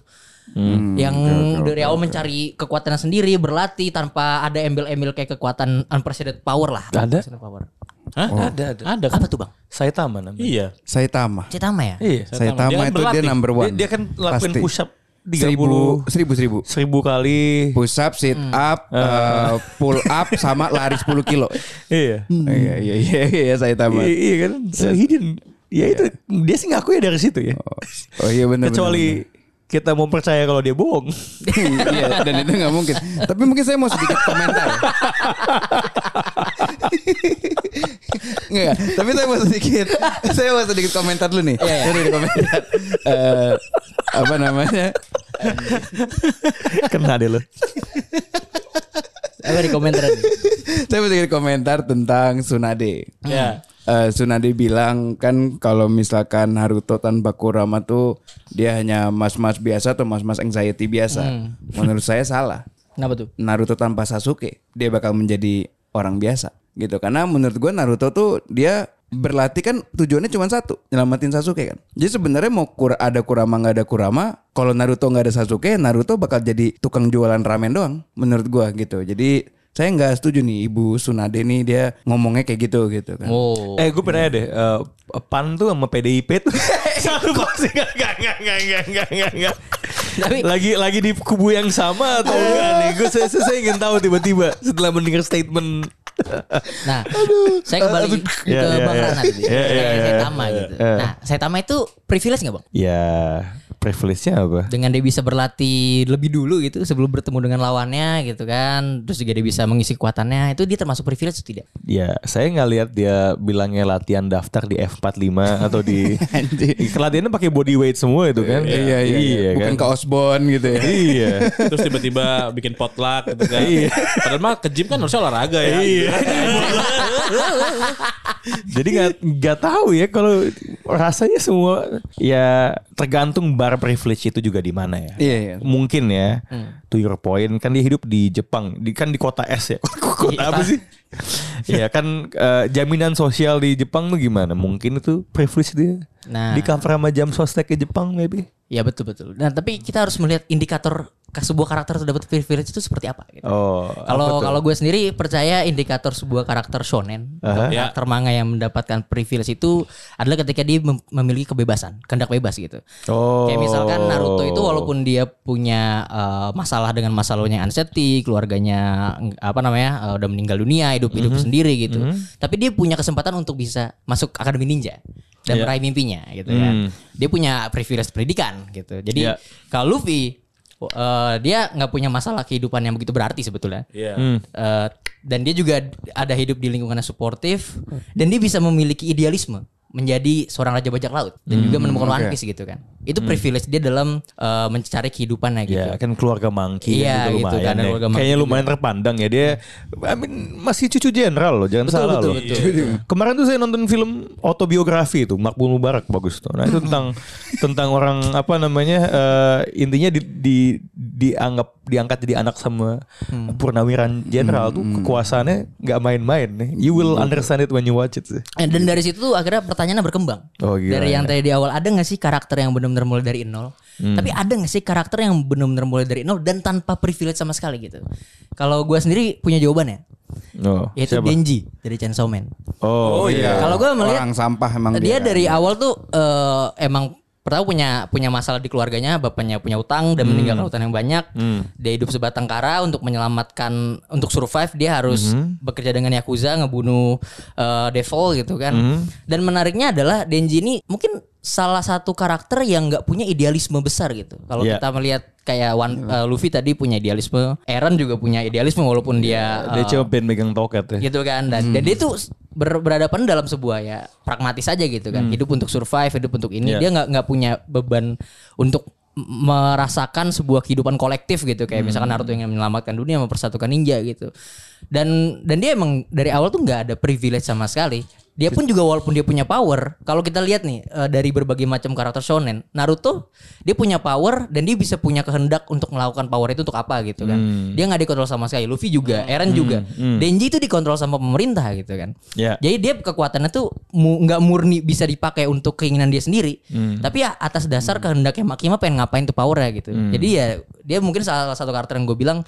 [SPEAKER 4] yang dari awal mencari kekuatannya sendiri berlatih tanpa ada embel-embel kayak kekuatan unprecedented power lah.
[SPEAKER 2] Ada?
[SPEAKER 4] Unprecedented power.
[SPEAKER 5] Hah? Ada, ada. Ada kan?
[SPEAKER 4] Apa tuh, Bang?
[SPEAKER 2] Saitama namanya.
[SPEAKER 5] Iya.
[SPEAKER 3] Saitama.
[SPEAKER 4] Cetama ya?
[SPEAKER 2] Iya.
[SPEAKER 5] Saitama. Dia
[SPEAKER 3] Saitama itu dia
[SPEAKER 5] kan berlatih.
[SPEAKER 3] number
[SPEAKER 2] Dia,
[SPEAKER 3] one.
[SPEAKER 2] dia kan lakuin
[SPEAKER 3] Pasti.
[SPEAKER 2] push up 30
[SPEAKER 3] seribu, seribu, seribu.
[SPEAKER 2] seribu kali.
[SPEAKER 3] Push up, sit
[SPEAKER 4] Hmm.
[SPEAKER 3] up,
[SPEAKER 4] Ah.
[SPEAKER 3] eh, pull up, sama lari 10 kilo.
[SPEAKER 2] Iya.
[SPEAKER 4] Hmm.
[SPEAKER 3] Iya iya iya iya Saitama.
[SPEAKER 2] Iya, iya kan. So, hidden. Ya itu dia sih ngaku ya dari situ ya.
[SPEAKER 3] Oh iya benar.
[SPEAKER 2] Kecuali kita mau percaya kalau dia bohong.
[SPEAKER 3] iya, dan itu nggak mungkin. Tapi mungkin saya mau sedikit komentar. ya. Nggak, tapi saya mau sedikit, saya mau sedikit komentar dulu nih.
[SPEAKER 4] Iya, iya.
[SPEAKER 3] Dari komentar Eh, apa namanya?
[SPEAKER 2] Kena deh lo.
[SPEAKER 4] Apa di komentar tadi?
[SPEAKER 3] Saya mau sedikit komentar tentang Sunade.
[SPEAKER 5] Iya.
[SPEAKER 3] Eh, Sunade bilang kan kalau misalkan Haruto tanpa Kurama tuh dia hanya mas-mas biasa atau mas-mas anxiety biasa. Menurut saya salah.
[SPEAKER 4] Kenapa tuh?
[SPEAKER 3] Naruto tanpa Sasuke dia bakal menjadi orang biasa gitu karena menurut gua Naruto tuh dia berlatih kan tujuannya cuma satu nyelamatin Sasuke kan jadi sebenarnya mau kur ada Kurama nggak ada Kurama kalau Naruto nggak ada Sasuke Naruto bakal jadi tukang jualan ramen doang menurut gua gitu jadi saya nggak setuju nih Ibu Tsunade nih dia ngomongnya kayak gitu gitu kan
[SPEAKER 4] Oh.
[SPEAKER 2] Eh gue pernah deh eh, PAN tuh sama PDIP tuh Satu pasti Enggak enggak enggak enggak enggak enggak enggak
[SPEAKER 4] Tapi-
[SPEAKER 2] lagi lagi di kubu yang sama atau enggak nih? Gue saya, saya, saya ingin tahu tiba-tiba setelah mendengar statement
[SPEAKER 4] Nah, saya kembali ke
[SPEAKER 2] Iya, iya,
[SPEAKER 4] Bang
[SPEAKER 2] iya.
[SPEAKER 4] Rana tadi.
[SPEAKER 2] Iya, iya,
[SPEAKER 4] Saya
[SPEAKER 2] iya.
[SPEAKER 4] Saitama gitu. Nah, Saitama itu privilege nggak Bang?
[SPEAKER 2] Ya privilege-nya apa?
[SPEAKER 4] Dengan dia bisa berlatih lebih dulu gitu sebelum bertemu dengan lawannya gitu kan. Terus juga dia bisa mengisi kekuatannya. Itu dia termasuk privilege atau tidak?
[SPEAKER 2] Ya, saya nggak lihat dia bilangnya latihan daftar di F45 atau di latihannya pakai body weight semua itu kan?
[SPEAKER 3] Iya, iya, iya. Bukan ke
[SPEAKER 2] kan?
[SPEAKER 3] Osborne gitu ya.
[SPEAKER 2] Iya.
[SPEAKER 5] Terus tiba-tiba bikin potluck gitu kan. Padahal mah ke gym kan harusnya olahraga ya.
[SPEAKER 2] Jadi nggak nggak tahu ya kalau rasanya semua ya tergantung bar privilege itu juga di mana ya.
[SPEAKER 3] Iya, Hmm. iya.
[SPEAKER 2] Mungkin ya. To your point kan dia hidup di Jepang, di kan di kota S ya. kota
[SPEAKER 3] Iya.
[SPEAKER 2] apa sih? ya kan eh, jaminan sosial di Jepang tuh gimana? Mungkin itu privilege dia.
[SPEAKER 4] Nah.
[SPEAKER 2] Di cover sama jam sostek ke Jepang maybe.
[SPEAKER 4] Ya betul betul. Nah, tapi kita harus melihat indikator ke sebuah karakter itu dapat privilege itu seperti apa gitu.
[SPEAKER 2] Oh,
[SPEAKER 4] Kalau kalau gue sendiri percaya indikator sebuah karakter shonen, atau
[SPEAKER 5] Ya.
[SPEAKER 4] karakter manga yang mendapatkan privilege itu adalah ketika dia mem- memiliki kebebasan, kehendak bebas gitu.
[SPEAKER 2] Oh.
[SPEAKER 4] Kayak misalkan Naruto itu walaupun dia punya eh, masalah dengan masa lalunya yang Unseti, keluarganya ng- apa namanya eh, udah meninggal dunia, hidup hidup sendiri gitu. Tapi dia punya kesempatan untuk bisa masuk akademi ninja dan meraih mimpinya gitu ya. Dia punya privilege pendidikan gitu. Jadi
[SPEAKER 2] Iya.
[SPEAKER 4] kalau Luffy eh, dia nggak punya masalah kehidupan yang begitu berarti sebetulnya.
[SPEAKER 5] Iya.
[SPEAKER 2] Hmm.
[SPEAKER 4] Eh, dan dia juga ada hidup di lingkungan yang suportif dan dia bisa memiliki idealisme menjadi seorang raja bajak laut dan juga
[SPEAKER 2] Hmm,
[SPEAKER 4] menemukan One Piece gitu kan. Itu privilege dia dalam eh, mencari kehidupannya gitu.
[SPEAKER 2] Ya kan keluarga Mangki kan
[SPEAKER 4] Iya,
[SPEAKER 2] juga
[SPEAKER 4] gitu
[SPEAKER 2] lumayan
[SPEAKER 4] kan,
[SPEAKER 2] ya.
[SPEAKER 4] keluarga Monkey
[SPEAKER 2] Kayaknya lumayan terpandang ya dia. I mean, masih cucu jenderal loh, jangan
[SPEAKER 4] Betul,
[SPEAKER 2] salah
[SPEAKER 4] betul,
[SPEAKER 2] loh. Iya.
[SPEAKER 4] betul,
[SPEAKER 2] Kemarin tuh saya nonton film autobiografi itu Makmur Mubarak bagus tuh. Nah itu tentang tentang orang apa namanya eh, intinya di, di dianggap diangkat jadi anak sama
[SPEAKER 4] Hmm.
[SPEAKER 2] purnawiran jenderal tuh kekuasaannya nggak main-main nih. You will understand it when you watch it sih.
[SPEAKER 4] Eh, Dan dari situ tuh akhirnya pertanyaannya berkembang.
[SPEAKER 2] Oh, gila,
[SPEAKER 4] dari yang
[SPEAKER 2] ya.
[SPEAKER 4] tadi di awal ada nggak sih karakter yang benar-benar mulai dari nol?
[SPEAKER 2] Hmm.
[SPEAKER 4] Tapi ada nggak sih karakter yang benar-benar mulai dari nol dan tanpa privilege sama sekali gitu? Kalau gua sendiri punya jawabannya,
[SPEAKER 2] Oh,
[SPEAKER 4] yaitu
[SPEAKER 2] siapa?
[SPEAKER 4] Denji dari Chainsaw Man.
[SPEAKER 2] Oh,
[SPEAKER 3] iya.
[SPEAKER 4] Kalau gua melihat
[SPEAKER 3] orang sampah emang
[SPEAKER 4] dia,
[SPEAKER 3] dia. kan.
[SPEAKER 4] dari awal tuh eh, emang pertama punya punya masalah di keluarganya, bapaknya punya utang
[SPEAKER 3] Hmm.
[SPEAKER 4] dan meninggalkan utang yang banyak. Dia hidup sebatang kara untuk menyelamatkan untuk survive dia harus
[SPEAKER 3] Hmm.
[SPEAKER 4] bekerja dengan yakuza ngebunuh eh, devil gitu kan.
[SPEAKER 3] Hmm.
[SPEAKER 4] Dan menariknya adalah Denji ini mungkin salah satu karakter yang nggak punya idealisme besar gitu. Kalau
[SPEAKER 2] Iya.
[SPEAKER 4] kita melihat kayak One- eh,
[SPEAKER 3] Iya.
[SPEAKER 4] Luffy tadi punya idealisme, Eren juga punya idealisme walaupun
[SPEAKER 3] Iya,
[SPEAKER 4] dia eh,
[SPEAKER 2] Dia cuma pengen megang toket ya.
[SPEAKER 4] gitu kan dan, dan dia tuh ber- berhadapan dalam sebuah ya pragmatis aja gitu kan hidup untuk survive hidup untuk
[SPEAKER 2] Iya.
[SPEAKER 4] ini dia nggak nggak punya beban untuk m- merasakan sebuah kehidupan kolektif gitu kayak misalkan Naruto ingin menyelamatkan dunia mempersatukan ninja gitu dan dan dia emang dari awal tuh nggak ada privilege sama sekali dia pun juga walaupun dia punya power kalau kita lihat nih eh, dari berbagai macam karakter shonen Naruto dia punya power dan dia bisa punya kehendak untuk melakukan power itu untuk apa gitu kan dia nggak dikontrol sama sekali Luffy juga Eren juga Denji itu dikontrol sama pemerintah gitu kan
[SPEAKER 2] Ya.
[SPEAKER 4] jadi dia kekuatannya tuh mu- nggak murni bisa dipakai untuk keinginan dia sendiri tapi ya atas dasar kehendaknya Makima pengen ngapain tuh powernya gitu jadi ya dia mungkin salah satu karakter yang gue bilang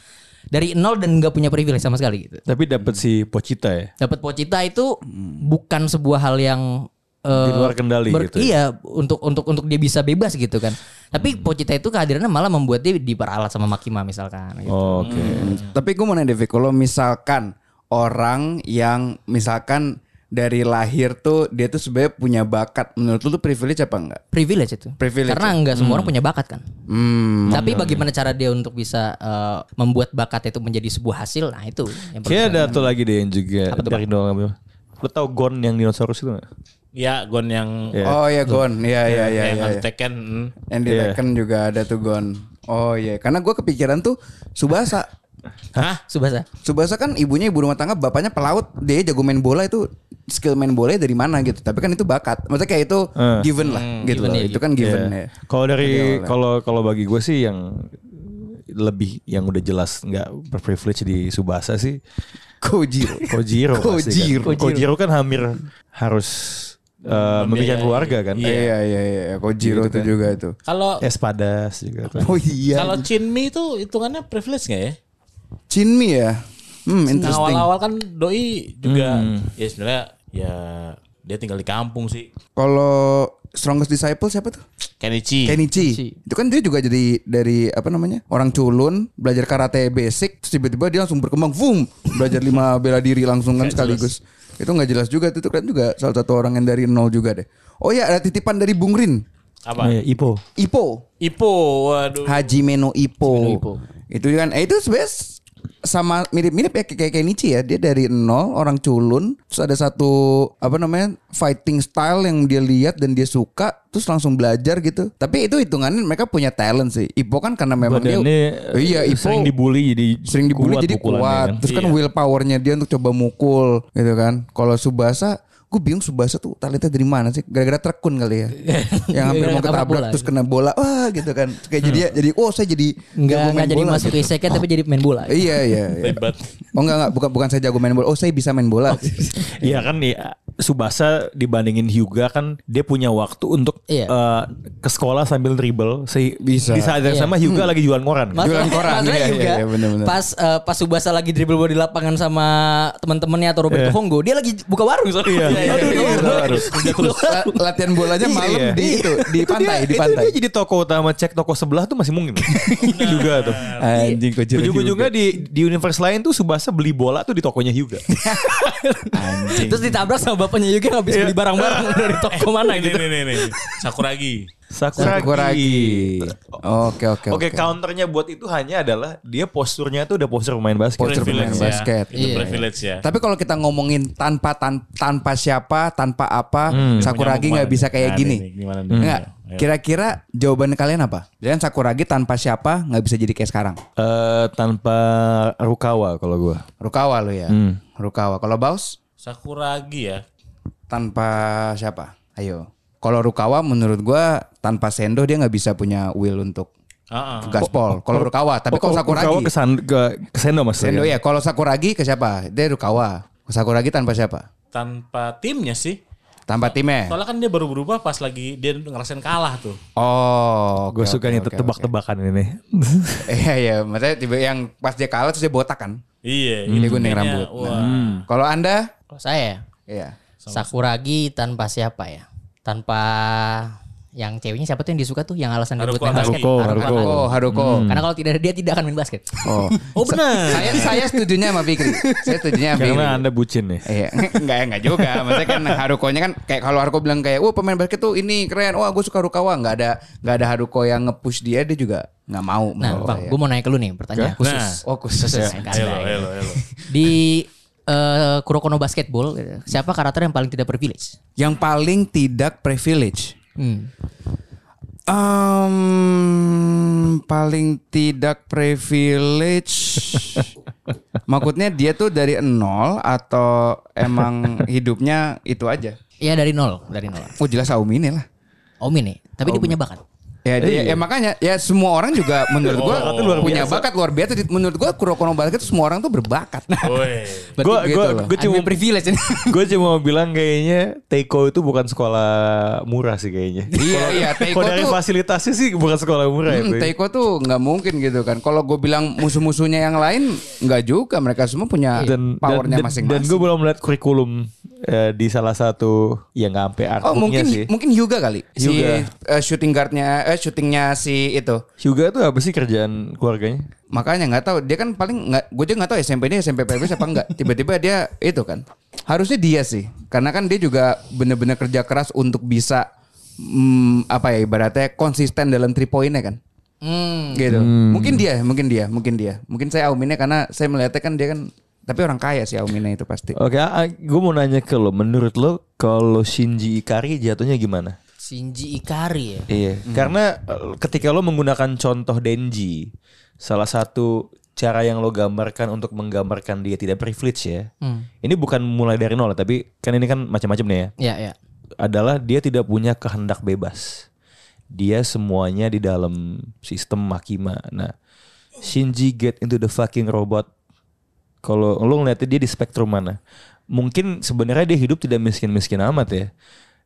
[SPEAKER 4] dari nol dan nggak punya privilege sama sekali gitu
[SPEAKER 2] Tapi dapat si Pochita ya.
[SPEAKER 4] dapat pocita itu bukan sebuah hal yang eh,
[SPEAKER 2] Di luar kendali gitu ya.
[SPEAKER 4] Iya, untuk untuk untuk dia bisa bebas gitu kan. Tapi pocita itu kehadirannya malah membuat dia diperalat sama Makima misalkan. Gitu.
[SPEAKER 2] Oke.
[SPEAKER 3] Tapi gue mau nanya Devi, kalau misalkan orang yang misalkan dari lahir tuh dia tuh sebenarnya punya bakat, menurut lu tuh privilege apa enggak?
[SPEAKER 4] Privilege itu.
[SPEAKER 3] Privilege.
[SPEAKER 4] Karena nggak semua orang punya bakat kan.
[SPEAKER 3] Hmm.
[SPEAKER 4] Tapi bagaimana cara dia untuk bisa eh, membuat bakat itu menjadi sebuah hasil? Nah itu.
[SPEAKER 3] Hmm.
[SPEAKER 4] Yang perlu
[SPEAKER 2] Kayaknya ada
[SPEAKER 4] kita-
[SPEAKER 2] satu lagi deh yang juga dari nol ngambil. Lo tau Gon yang dinosaurus itu gak?
[SPEAKER 5] Ya, Gon yang
[SPEAKER 3] Oh ya Gon, ya ya ya
[SPEAKER 5] yang
[SPEAKER 3] ya.
[SPEAKER 5] harus
[SPEAKER 3] ya.
[SPEAKER 5] Tekken. hmm.
[SPEAKER 3] Yang di Tekken juga ada tuh Gon. Oh iya, karena gue kepikiran tuh Subasa.
[SPEAKER 5] Hah?
[SPEAKER 4] Subasa.
[SPEAKER 3] Subasa kan ibunya ibu rumah tangga, bapaknya pelaut, dia jago main bola itu skill main bolanya dari mana gitu. Tapi kan itu bakat. Maksudnya kayak itu given lah gitu loh. Itu kan given ya.
[SPEAKER 2] Iya. Kalau dari kalau kalau bagi gue sih yang lebih yang udah jelas nggak berprivilege di Subasa sih
[SPEAKER 3] Kojiro.
[SPEAKER 2] Kojiro pasti kan.
[SPEAKER 3] Kojiro.
[SPEAKER 2] Kojiro kan hampir harus eh, memikirkan keluarga kan. Eh,
[SPEAKER 3] Iya iya iya, iya. Kojiro tuh juga itu.
[SPEAKER 5] Kalau
[SPEAKER 2] Iya. Espadas juga kan.
[SPEAKER 3] Oh iya.
[SPEAKER 5] kalau Chinmi itu hitungannya privilege nggak ya?
[SPEAKER 3] Chinmi ya. Hmm,
[SPEAKER 5] Nah,
[SPEAKER 3] interesting.
[SPEAKER 5] awal-awal kan doi juga ya sebenarnya ya dia tinggal di kampung sih.
[SPEAKER 3] Kalau Strongest Disciple siapa tuh?
[SPEAKER 5] Kenichi.
[SPEAKER 3] Kenichi. Itu kan dia juga jadi dari apa namanya? Orang culun, belajar karate basic, terus tiba-tiba dia langsung berkembang, boom, belajar lima bela diri langsung kan sekaligus. Itu nggak jelas juga itu kan juga salah satu orang yang dari nol juga deh. Oh ya, ada titipan dari Bung Rin.
[SPEAKER 5] Apa?
[SPEAKER 1] iya, Ipo.
[SPEAKER 3] Ipo,
[SPEAKER 5] Ipo. Waduh.
[SPEAKER 3] Haji Meno Ipo.
[SPEAKER 1] Ipo.
[SPEAKER 3] Itu kan eh itu sebenarnya sama mirip-mirip ya kayak Kenichi ya. Dia dari nol orang culun, terus ada satu apa namanya fighting style yang dia lihat dan dia suka, terus langsung belajar gitu. Tapi itu hitungannya mereka punya talent sih. Ipo kan karena memang
[SPEAKER 2] Badannya
[SPEAKER 3] dia iya Ipo
[SPEAKER 2] eh, sering dibully jadi
[SPEAKER 3] sering dibully
[SPEAKER 2] kuat
[SPEAKER 3] jadi
[SPEAKER 2] pukulannya
[SPEAKER 3] kuat.
[SPEAKER 2] kan.
[SPEAKER 3] Terus
[SPEAKER 1] Iya.
[SPEAKER 3] kan willpowernya dia untuk coba mukul gitu kan. Kalau Subasa gue bingung Subasa tuh talentnya dari mana sih? Gara-gara terkun kali ya.
[SPEAKER 1] Iya.
[SPEAKER 3] yang hampir
[SPEAKER 4] Gara-gara ketabrak
[SPEAKER 3] mau ketabrak
[SPEAKER 4] bola.
[SPEAKER 1] ya.
[SPEAKER 3] terus kena bola. Wah gitu kan. Terus Kayak
[SPEAKER 1] Hmm.
[SPEAKER 3] jadi jadi oh saya jadi
[SPEAKER 4] Enggak
[SPEAKER 3] jago main
[SPEAKER 4] enggak jadi
[SPEAKER 3] bola
[SPEAKER 4] masuk
[SPEAKER 3] gitu.
[SPEAKER 4] isekai tapi jadi main bola.
[SPEAKER 3] Iya iya. iya.
[SPEAKER 5] Hebat.
[SPEAKER 3] Oh enggak enggak bukan bukan saya jago main bola. Oh saya bisa main bola.
[SPEAKER 1] Iya kan ya Subasa dibandingin Hyuga kan dia punya waktu untuk
[SPEAKER 4] Iya.
[SPEAKER 1] eh, ke sekolah sambil dribble. Se-
[SPEAKER 3] Bisa.
[SPEAKER 1] Di saat yang
[SPEAKER 4] Iya.
[SPEAKER 1] sama Hyuga lagi jualan koran. kan?
[SPEAKER 3] Jualan koran,
[SPEAKER 4] masalahnya
[SPEAKER 3] iya, iya,
[SPEAKER 4] juga
[SPEAKER 3] iya, bener-bener.
[SPEAKER 4] pas eh, pas Subasa lagi dribble bola di lapangan sama teman-temannya atau Roberto Honggo, dia lagi buka warung soalnya.
[SPEAKER 1] Iya, iya,
[SPEAKER 4] Aduh, dia-
[SPEAKER 1] iya,
[SPEAKER 5] Harus. Kerja terus.
[SPEAKER 3] La- latihan bolanya malam di itu di
[SPEAKER 1] Itu dia-
[SPEAKER 3] pantai di
[SPEAKER 1] itu
[SPEAKER 3] pantai.
[SPEAKER 1] dia jadi toko utama cek toko sebelah tuh masih mungkin. Hyuga tuh.
[SPEAKER 3] Anjing kojir.
[SPEAKER 1] Ujung-ujungnya di di universe lain tuh Subasa beli bola tuh di tokonya Hyuga.
[SPEAKER 5] Anjing.
[SPEAKER 4] Terus ditabrak sama bapaknya juga habis beli barang-barang dari toko mana
[SPEAKER 5] Nih
[SPEAKER 4] gitu.
[SPEAKER 5] Eh, nih nih nih. Sakuragi.
[SPEAKER 1] Sakuragi.
[SPEAKER 3] Oke oke
[SPEAKER 1] Oke,
[SPEAKER 3] oke.
[SPEAKER 1] counternya buat itu hanya adalah dia posturnya tuh udah postur pemain basket.
[SPEAKER 3] Postur pemain
[SPEAKER 5] Privilege ya.
[SPEAKER 3] basket.
[SPEAKER 5] Itu
[SPEAKER 4] Iya.
[SPEAKER 5] privilege ya.
[SPEAKER 3] Tapi kalau kita ngomongin tanpa tan- tanpa siapa, tanpa apa,
[SPEAKER 2] Hmm.
[SPEAKER 3] Sakuragi nggak bisa kayak
[SPEAKER 5] Nah,
[SPEAKER 3] gini.
[SPEAKER 5] nih, nih, gimana nih? Iya.
[SPEAKER 3] Enggak.
[SPEAKER 5] Ayo.
[SPEAKER 3] Kira-kira jawaban kalian apa? Jangan Sakuragi tanpa siapa nggak bisa jadi kayak sekarang.
[SPEAKER 2] Eh, tanpa Rukawa kalau gua.
[SPEAKER 3] Rukawa lo ya.
[SPEAKER 2] Hmm.
[SPEAKER 3] Rukawa. Kalau Baus
[SPEAKER 5] Sakuragi ya.
[SPEAKER 3] tanpa siapa? Ayo. Kalau Rukawa menurut gua tanpa Sendo dia nggak bisa punya will untuk
[SPEAKER 2] Ah.
[SPEAKER 5] Heeh.
[SPEAKER 2] Oh,
[SPEAKER 3] gaspol. Kalau Rukawa, tapi kalau
[SPEAKER 2] Rukawa
[SPEAKER 3] Sakuragi,
[SPEAKER 2] ke, Iya. San, ke, ke Sendo mas.
[SPEAKER 3] Sendo ya. Kalau Sakuragi ke siapa? Dia Rukawa. Sakuragi tanpa siapa?
[SPEAKER 5] Tanpa timnya sih.
[SPEAKER 3] Tanpa timnya.
[SPEAKER 5] Soalnya kan dia baru berubah pas lagi dia ngerasain kalah tuh.
[SPEAKER 3] Oh,
[SPEAKER 2] Gue
[SPEAKER 3] oke,
[SPEAKER 2] suka
[SPEAKER 3] oke,
[SPEAKER 2] nih
[SPEAKER 3] oke, oke.
[SPEAKER 2] tebak-tebakan ini.
[SPEAKER 3] Iya iya, maksudnya tiba yang pas dia kalah terus dia botak kan.
[SPEAKER 5] Iya.
[SPEAKER 3] Dia
[SPEAKER 5] itu
[SPEAKER 3] gunting
[SPEAKER 5] kayaknya,
[SPEAKER 3] rambut. Nah,
[SPEAKER 5] Wah. Hmm.
[SPEAKER 3] Kalau Anda?
[SPEAKER 4] Kalau saya
[SPEAKER 3] Iya.
[SPEAKER 4] Sakuragi tanpa siapa ya? Tanpa yang ceweknya siapa tuh yang disuka tuh yang alasan dia buat
[SPEAKER 5] Haruko
[SPEAKER 4] main basket?
[SPEAKER 5] Haruko,
[SPEAKER 4] Oh, Haruko. Hmm.
[SPEAKER 3] Haruko, Oh, Hmm. Haruko.
[SPEAKER 4] Karena kalau tidak ada dia tidak akan main basket.
[SPEAKER 3] Oh.
[SPEAKER 5] Oh benar.
[SPEAKER 3] saya saya setujunya sama Fikri. Saya setujunya sama Fikri.
[SPEAKER 2] Karena anda bucin nih.
[SPEAKER 3] Iya, enggak enggak juga. Maksudnya kan Haruko-nya kan kayak kalau Haruko bilang kayak, "Wah, pemain basket tuh ini keren. Wah, gue suka Rukawa." Enggak ada enggak ada Haruko yang nge-push dia, dia juga enggak mau.
[SPEAKER 4] Nah,
[SPEAKER 3] menurut
[SPEAKER 4] Bang,
[SPEAKER 3] saya.
[SPEAKER 4] gue mau nanya ke lu nih pertanyaan khusus.
[SPEAKER 5] Nah.
[SPEAKER 3] Oh, khusus.
[SPEAKER 4] Khusus.
[SPEAKER 3] ya.
[SPEAKER 5] Ayo, ayo, ayo.
[SPEAKER 4] Di eh, Kurokono Basketball, siapa karakter yang paling tidak privilege?
[SPEAKER 3] Yang paling tidak privilege.
[SPEAKER 4] Hmm.
[SPEAKER 3] Um, paling tidak privilege. Maksudnya dia tuh dari nol atau emang hidupnya itu aja?
[SPEAKER 4] Iya dari nol, dari nol.
[SPEAKER 3] Oh jelas Aumi ini lah.
[SPEAKER 4] Omi nih, tapi dia punya bakat.
[SPEAKER 3] Ya, dia-
[SPEAKER 2] Iya.
[SPEAKER 3] ya makanya ya semua orang juga menurut gua
[SPEAKER 2] Oh.
[SPEAKER 5] Bakatnya luar
[SPEAKER 3] punya bakat luar biasa. Menurut gua Kurokono Basket tuh semua orang tuh berbakat.
[SPEAKER 5] Woi.
[SPEAKER 2] Gue
[SPEAKER 3] Berarti
[SPEAKER 2] gue
[SPEAKER 3] gitu loh.
[SPEAKER 2] gue cuma
[SPEAKER 4] privilege ini.
[SPEAKER 2] gue cuma mau bilang kayaknya Teiko itu bukan sekolah murah sih kayaknya.
[SPEAKER 3] Iya,
[SPEAKER 2] Kalau-
[SPEAKER 3] iya, Teiko
[SPEAKER 2] kalau dari
[SPEAKER 3] tuh-
[SPEAKER 2] fasilitasnya sih bukan sekolah murah ya.
[SPEAKER 3] Hmm,
[SPEAKER 2] Boy.
[SPEAKER 3] Teiko tuh nggak mungkin gitu kan. Kalau gue bilang musuh-musuhnya yang lain nggak juga. Mereka semua punya
[SPEAKER 2] dan dan,
[SPEAKER 3] powernya
[SPEAKER 2] dan
[SPEAKER 3] masing-masing.
[SPEAKER 2] gue belum melihat kurikulum eh, di salah satu yang nggak sampai
[SPEAKER 3] Oh
[SPEAKER 2] artbooknya
[SPEAKER 3] mungkin
[SPEAKER 2] sih.
[SPEAKER 3] mungkin Hyuga kali si
[SPEAKER 2] Hyuga.
[SPEAKER 3] eh, shooting guardnya eh, shootingnya si itu
[SPEAKER 2] Hyuga tuh apa sih kerjaan keluarganya?
[SPEAKER 3] makanya nggak tahu dia kan paling nggak gue juga nggak tahu ya, SMP nya SMP PBS apa enggak tiba-tiba dia itu kan harusnya dia sih karena kan dia juga bener-bener kerja keras untuk bisa mm, apa ya ibaratnya konsisten dalam three pointnya kan
[SPEAKER 4] Hmm.
[SPEAKER 3] gitu mungkin dia mungkin dia mungkin dia mungkin saya Auminnya karena saya melihatnya kan dia kan tapi orang kaya sih Auminnya itu pasti
[SPEAKER 2] Oke, gue mau nanya ke lo. Menurut lo kalau Shinji Ikari jatuhnya gimana?
[SPEAKER 4] Shinji Ikari ya.
[SPEAKER 2] Iya, karena eh, ketika lo menggunakan contoh Denji, salah satu cara yang lo gambarkan untuk menggambarkan dia tidak privilege ya.
[SPEAKER 4] Hmm.
[SPEAKER 2] Ini bukan mulai dari nol, tapi kan ini kan macam-macam nih ya.
[SPEAKER 4] Ya, ya.
[SPEAKER 2] Adalah dia tidak punya kehendak bebas. Dia semuanya di dalam sistem Makima. Nah, Shinji get into the fucking robot. Kalau lo ngeliatnya dia di spektrum mana? Mungkin sebenarnya dia hidup tidak miskin-miskin amat ya.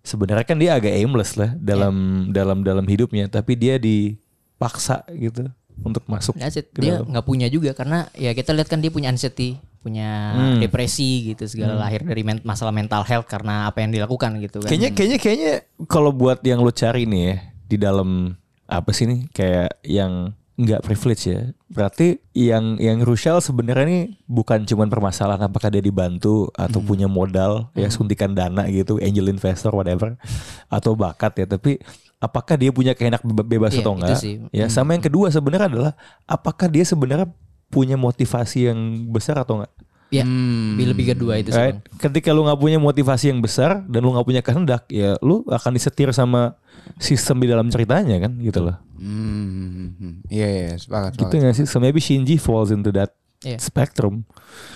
[SPEAKER 2] Sebenarnya kan dia agak aimless lah dalam dalam dalam hidupnya, tapi dia dipaksa gitu untuk masuk.
[SPEAKER 4] That's it.
[SPEAKER 2] ke
[SPEAKER 4] Dia
[SPEAKER 2] dalam.
[SPEAKER 4] nggak punya juga karena ya kita lihat kan dia punya anxiety punya depresi gitu segala lahir dari men- masalah mental health karena apa yang dilakukan gitu kan.
[SPEAKER 2] Kayaknya kayaknya kayaknya kalau buat yang lo cari nih ya di dalam apa sih nih kayak yang nggak privilege ya. Berarti yang yang Rushel sebenarnya nih bukan cuman permasalahan apakah dia dibantu atau
[SPEAKER 4] Hmm.
[SPEAKER 2] punya modal ya suntikan dana gitu, angel investor whatever atau bakat ya, tapi apakah dia punya keenak be- bebas
[SPEAKER 4] Iya,
[SPEAKER 2] atau
[SPEAKER 4] itu
[SPEAKER 2] enggak?
[SPEAKER 4] sih.
[SPEAKER 2] Ya, sama yang kedua sebenarnya adalah apakah dia sebenarnya punya motivasi yang besar atau enggak?
[SPEAKER 4] Ya, lebih lebih kedua itu sih.
[SPEAKER 2] Right?
[SPEAKER 4] Gitu, Bang.
[SPEAKER 2] Ketika lu nggak punya motivasi yang besar dan lu nggak punya kehendak, ya lu akan disetir sama sistem di dalam ceritanya kan gitu loh.
[SPEAKER 3] Hmm, iya iya sepakat
[SPEAKER 2] Gitu
[SPEAKER 3] sepakat.
[SPEAKER 2] nggak sih? So maybe Shinji falls into that
[SPEAKER 4] Iya.
[SPEAKER 2] spectrum.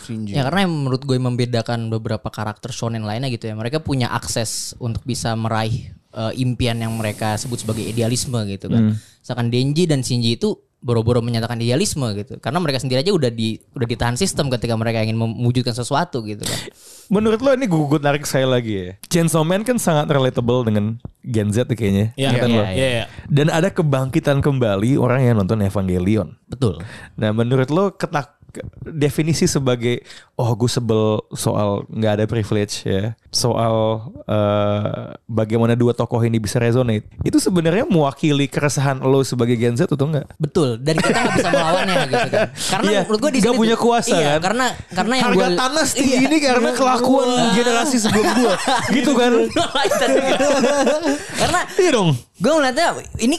[SPEAKER 3] Shinji.
[SPEAKER 4] Ya karena yang menurut gue yang membedakan beberapa karakter shonen lainnya gitu ya. Mereka punya akses untuk bisa meraih eh, impian yang mereka sebut sebagai idealisme gitu kan. Misalkan Denji dan Shinji itu boro-boro menyatakan idealisme gitu. Karena mereka sendiri aja udah di udah ditahan sistem ketika mereka ingin mewujudkan sesuatu gitu kan.
[SPEAKER 2] Menurut lo ini gue tarik saya lagi ya. Chainsaw Man kan sangat relatable dengan Gen Z kayaknya.
[SPEAKER 5] Iya,
[SPEAKER 2] Ingatan
[SPEAKER 5] iya,
[SPEAKER 2] lo.
[SPEAKER 5] iya, iya.
[SPEAKER 2] Dan ada kebangkitan kembali orang yang nonton Evangelion.
[SPEAKER 4] Betul.
[SPEAKER 2] Nah menurut lo ketak ke- definisi sebagai oh gue sebel soal nggak ada privilege ya soal eh, bagaimana dua tokoh ini bisa resonate itu sebenarnya mewakili keresahan lo sebagai Gen Z atau enggak?
[SPEAKER 4] Betul, dan kita nggak bisa melawannya gitu kan. Karena
[SPEAKER 2] Iya,
[SPEAKER 4] menurut gue di
[SPEAKER 2] nggak
[SPEAKER 4] sini-
[SPEAKER 2] punya kuasa,
[SPEAKER 4] iya,
[SPEAKER 2] kan?
[SPEAKER 4] Karena karena yang
[SPEAKER 2] Harga
[SPEAKER 4] gua-
[SPEAKER 2] tanah
[SPEAKER 4] iya.
[SPEAKER 2] setinggi ini karena kelakuan generasi sebelum gue gitu kan?
[SPEAKER 4] karena
[SPEAKER 2] Iya dong.
[SPEAKER 4] gue melihatnya ini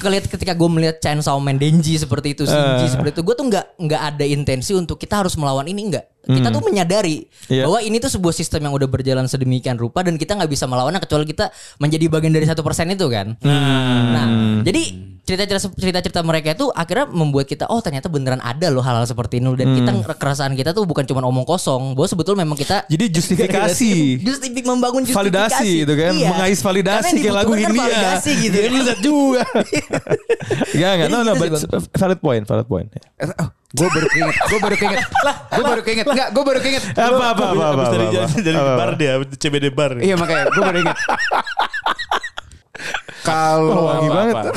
[SPEAKER 4] kelihat ketika gue melihat Chainsaw Man Denji seperti itu, Shinji
[SPEAKER 2] Eh.
[SPEAKER 4] seperti itu, gue tuh nggak nggak ada intensi untuk kita harus melawan ini enggak. Kita tuh menyadari
[SPEAKER 2] Hmm. Iya.
[SPEAKER 4] bahwa ini tuh sebuah sistem yang udah berjalan sedemikian rupa dan kita nggak bisa melawannya kecuali kita menjadi bagian dari satu persen itu kan.
[SPEAKER 2] Hmm.
[SPEAKER 4] Nah, jadi cerita-cerita cerita-cerita mereka itu akhirnya membuat kita oh ternyata beneran ada loh hal-hal seperti ini
[SPEAKER 2] Hmm.
[SPEAKER 4] dan kita kerasaan kita tuh bukan cuma omong kosong, bahwa sebetulnya memang kita
[SPEAKER 2] Jadi justifikasi.
[SPEAKER 4] Iya, Justifi- membangun justifikasi.
[SPEAKER 2] Validasi gitu kan,
[SPEAKER 4] Iya.
[SPEAKER 2] mengais validasi
[SPEAKER 4] Karena yang
[SPEAKER 2] kayak lagu ya. Iya.
[SPEAKER 4] dibutuhkan
[SPEAKER 2] India.
[SPEAKER 4] Validasi gitu. Iya.
[SPEAKER 2] Dia Gen Z juga. ya enggak,
[SPEAKER 4] Jadi
[SPEAKER 2] no no,
[SPEAKER 4] gitu sih,
[SPEAKER 2] but valid point, valid point.
[SPEAKER 3] gue Eh, oh, baru keinget, gue baru keinget, gue baru keinget, enggak, gue baru keinget.
[SPEAKER 2] Apa apa apa apa.
[SPEAKER 5] Abis dari
[SPEAKER 2] apa, apa.
[SPEAKER 5] dari
[SPEAKER 2] Apa, apa.
[SPEAKER 5] bar dia, CBD bar.
[SPEAKER 3] Iya makanya gue baru inget. Kalau
[SPEAKER 2] Wangi banget.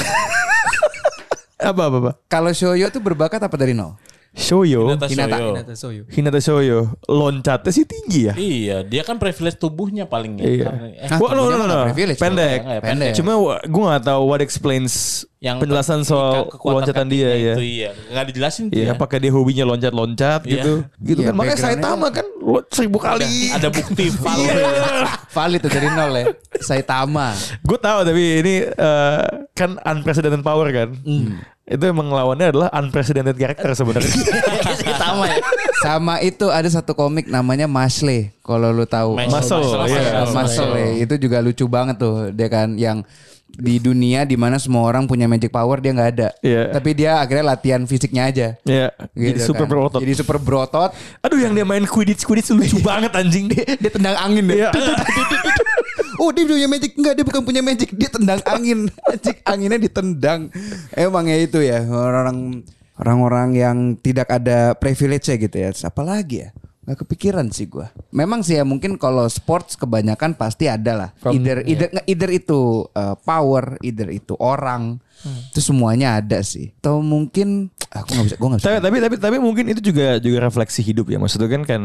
[SPEAKER 2] apa apa apa.
[SPEAKER 3] kalau Shoyo tuh berbakat apa dari nol?
[SPEAKER 2] Shoyo.
[SPEAKER 5] Hinata
[SPEAKER 3] Hinata,
[SPEAKER 5] Soyo.
[SPEAKER 2] Hinata Shoyo loncatnya sih tinggi ya.
[SPEAKER 5] Iya, dia kan privilege tubuhnya paling ya.
[SPEAKER 2] Iya.
[SPEAKER 5] Karena- eh,
[SPEAKER 3] Hah,
[SPEAKER 2] Wah, no, no,
[SPEAKER 3] tubuhnya
[SPEAKER 2] no,
[SPEAKER 3] mah nggak
[SPEAKER 2] no.
[SPEAKER 3] privilege,
[SPEAKER 2] Pendek.
[SPEAKER 5] Nggak, ya,
[SPEAKER 3] pendek.
[SPEAKER 2] Cuma wa- gua gak tahu what explains
[SPEAKER 5] yang
[SPEAKER 2] penjelasan soal
[SPEAKER 5] kekuatan
[SPEAKER 2] loncatan dia
[SPEAKER 5] kakinya
[SPEAKER 2] ya.
[SPEAKER 5] Itu, iya, nggak dijelasin tuh
[SPEAKER 2] Iya,
[SPEAKER 5] ya.
[SPEAKER 2] apakah dia hobinya loncat-loncat
[SPEAKER 5] Iya.
[SPEAKER 2] gitu? Gitu
[SPEAKER 3] Iya,
[SPEAKER 2] kan makanya
[SPEAKER 3] background-nya
[SPEAKER 2] Saitama kan lo seribu kali. Iya.
[SPEAKER 5] Ada bukti fal.
[SPEAKER 3] Valid tuh dari nol ya. Saitama.
[SPEAKER 2] Gue tahu tapi ini eh, kan unprecedented power kan.
[SPEAKER 5] Hmm.
[SPEAKER 2] Itu emang lawannya adalah unprecedented character sebenarnya.
[SPEAKER 4] Sama ya.
[SPEAKER 3] Sama itu ada satu komik namanya Masle. Kalau lu tahu.
[SPEAKER 5] Masle.
[SPEAKER 2] Muscle,
[SPEAKER 5] Muscle,
[SPEAKER 2] iya.
[SPEAKER 5] muscle.
[SPEAKER 3] Masle itu juga lucu banget tuh dia kan yang di dunia dimana semua orang punya magic power dia nggak ada.
[SPEAKER 2] Iya.
[SPEAKER 3] Tapi dia akhirnya latihan fisiknya aja.
[SPEAKER 2] Iya,
[SPEAKER 3] Gitu
[SPEAKER 2] jadi super
[SPEAKER 3] kan.
[SPEAKER 2] berotot.
[SPEAKER 3] Jadi Iya. super berotot.
[SPEAKER 2] Aduh yang dia main Quidditch Quidditch lucu banget anjing dia.
[SPEAKER 3] Dia tendang angin ya? deh.
[SPEAKER 2] Iya.
[SPEAKER 3] Oh dia punya magic Enggak dia bukan punya magic Dia tendang angin Magic anginnya ditendang Emangnya itu ya Orang Orang-orang yang tidak ada privilege ya gitu ya Apalagi ya Gak kepikiran sih gua Memang sih ya mungkin kalau sports kebanyakan pasti ada lah
[SPEAKER 5] iya.
[SPEAKER 3] Either, either, either itu uh, power Either itu orang
[SPEAKER 5] Hmm.
[SPEAKER 3] Itu semuanya ada sih Atau mungkin Aku gak bisa Gue gak bisa
[SPEAKER 2] Tapi, tapi tapi tapi mungkin itu juga juga refleksi hidup ya. Maksudnya kan kan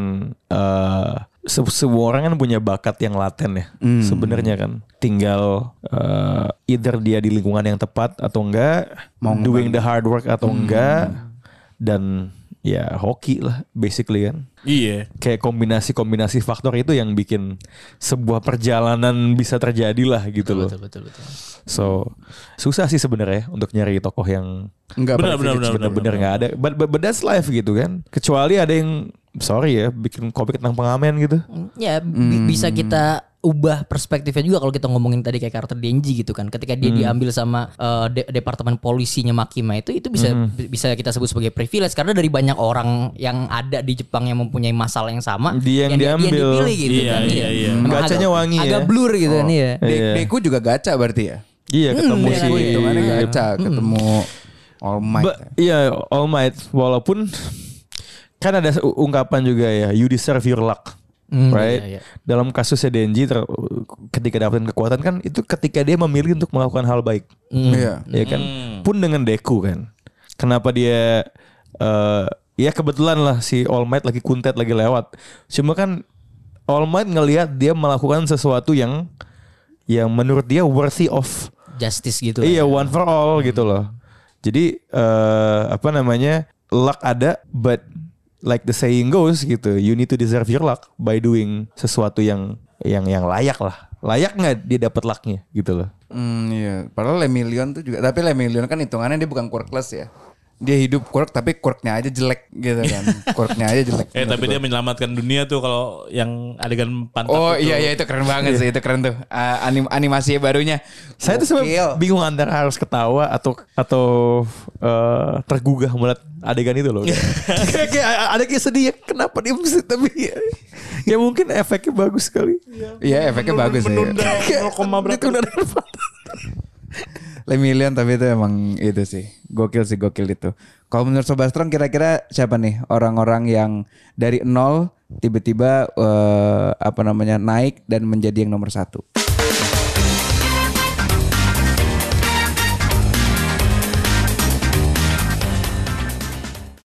[SPEAKER 2] eh, se- semua orang kan punya bakat yang laten ya.
[SPEAKER 4] Hmm.
[SPEAKER 2] Sebenarnya kan tinggal eh, either dia di lingkungan yang tepat atau enggak, doing the hard work atau
[SPEAKER 4] Hmm.
[SPEAKER 2] enggak dan ya hoki lah basically kan.
[SPEAKER 5] Iya.
[SPEAKER 2] Kayak kombinasi-kombinasi faktor itu yang bikin sebuah perjalanan bisa terjadi lah gitu loh.
[SPEAKER 4] Betul betul.
[SPEAKER 2] So susah sih sebenarnya untuk nyari tokoh yang
[SPEAKER 3] Enggak
[SPEAKER 5] Benar, benar, benar, benar,
[SPEAKER 2] bener-bener nggak ada. But, but, but that's life gitu kan. Kecuali ada yang sorry ya bikin komik tentang pengamen gitu.
[SPEAKER 4] Ya
[SPEAKER 2] Hmm.
[SPEAKER 4] bi- bisa kita ubah perspektifnya juga kalau kita ngomongin tadi kayak karakter Denji gitu kan. Ketika dia
[SPEAKER 2] Hmm.
[SPEAKER 4] diambil sama eh, de- departemen polisinya Makima itu itu bisa
[SPEAKER 2] Hmm.
[SPEAKER 4] bi- bisa kita sebut sebagai privilege karena dari banyak orang yang ada di Jepang yang mempunyai masalah yang sama
[SPEAKER 2] Dia yang
[SPEAKER 4] dia- dia
[SPEAKER 2] diambil.
[SPEAKER 4] dipilih gitu
[SPEAKER 5] Iya,
[SPEAKER 4] kan.
[SPEAKER 5] iya, iya.
[SPEAKER 4] Emang
[SPEAKER 2] Gacanya
[SPEAKER 4] agak-
[SPEAKER 2] wangi ya.
[SPEAKER 4] Agak blur gitu kan ya.
[SPEAKER 2] Iya.
[SPEAKER 3] Deku juga gacha berarti ya
[SPEAKER 2] Iya ketemu
[SPEAKER 4] iya,
[SPEAKER 2] sih.
[SPEAKER 3] Deku hitungannya gacha
[SPEAKER 2] Hmm.
[SPEAKER 3] Ketemu All Might
[SPEAKER 4] ya.
[SPEAKER 3] ya.
[SPEAKER 2] But, iya All Might walaupun kan ada se- ungkapan juga ya you deserve your luck.
[SPEAKER 4] Hmm,
[SPEAKER 2] right?
[SPEAKER 4] iya, iya.
[SPEAKER 2] Dalam kasusnya Denji ter- ketika dapetin kekuatan kan itu ketika dia memilih untuk melakukan hal baik.
[SPEAKER 4] Hmm,
[SPEAKER 3] Iya
[SPEAKER 2] ya kan pun dengan Deku kan kenapa dia eh, ya kebetulan lah si All Might lagi kuntet lagi lewat. Cuma kan All Might ngelihat dia melakukan sesuatu yang yang menurut dia worthy of
[SPEAKER 4] Justice gitu.
[SPEAKER 2] Iya one for all gitu loh. Jadi eh apa namanya luck ada, but like the saying goes gitu, you need to deserve your luck by doing sesuatu yang yang yang layak lah. Layak nggak dia dapat lucknya gitu loh.
[SPEAKER 3] Hmm, iya. Padahal Lemillion tuh juga, tapi Lemillion kan hitungannya dia bukan quirkless ya. Dia hidup quirk tapi quirknya aja jelek gitu kan. quirknya aja jelek.
[SPEAKER 5] Eh tapi dia menyelamatkan dunia tuh kalau yang adegan pantat
[SPEAKER 3] Oh
[SPEAKER 5] itu.
[SPEAKER 3] iya iya itu keren banget sih, itu keren tuh. Ah, anim animasi barunya.
[SPEAKER 2] Saya tuh
[SPEAKER 3] Gokil.
[SPEAKER 2] sebenarnya bingung antara harus ketawa atau atau eh, tergugah melihat adegan itu loh. kayak kayak ada kayak sedih ya, kenapa dia mesti tapi ya, ya mungkin efeknya bagus sekali.
[SPEAKER 3] Iya, efeknya bagus sih.
[SPEAKER 5] menunda 0, berapa.
[SPEAKER 2] Ditunda dari pantat.
[SPEAKER 3] Lemillion tapi itu emang itu sih. Gokil sih, gokil itu. Kalau menurut Sobat Strong kira-kira siapa nih orang-orang yang dari nol tiba-tiba eh, apa namanya naik dan menjadi yang nomor satu?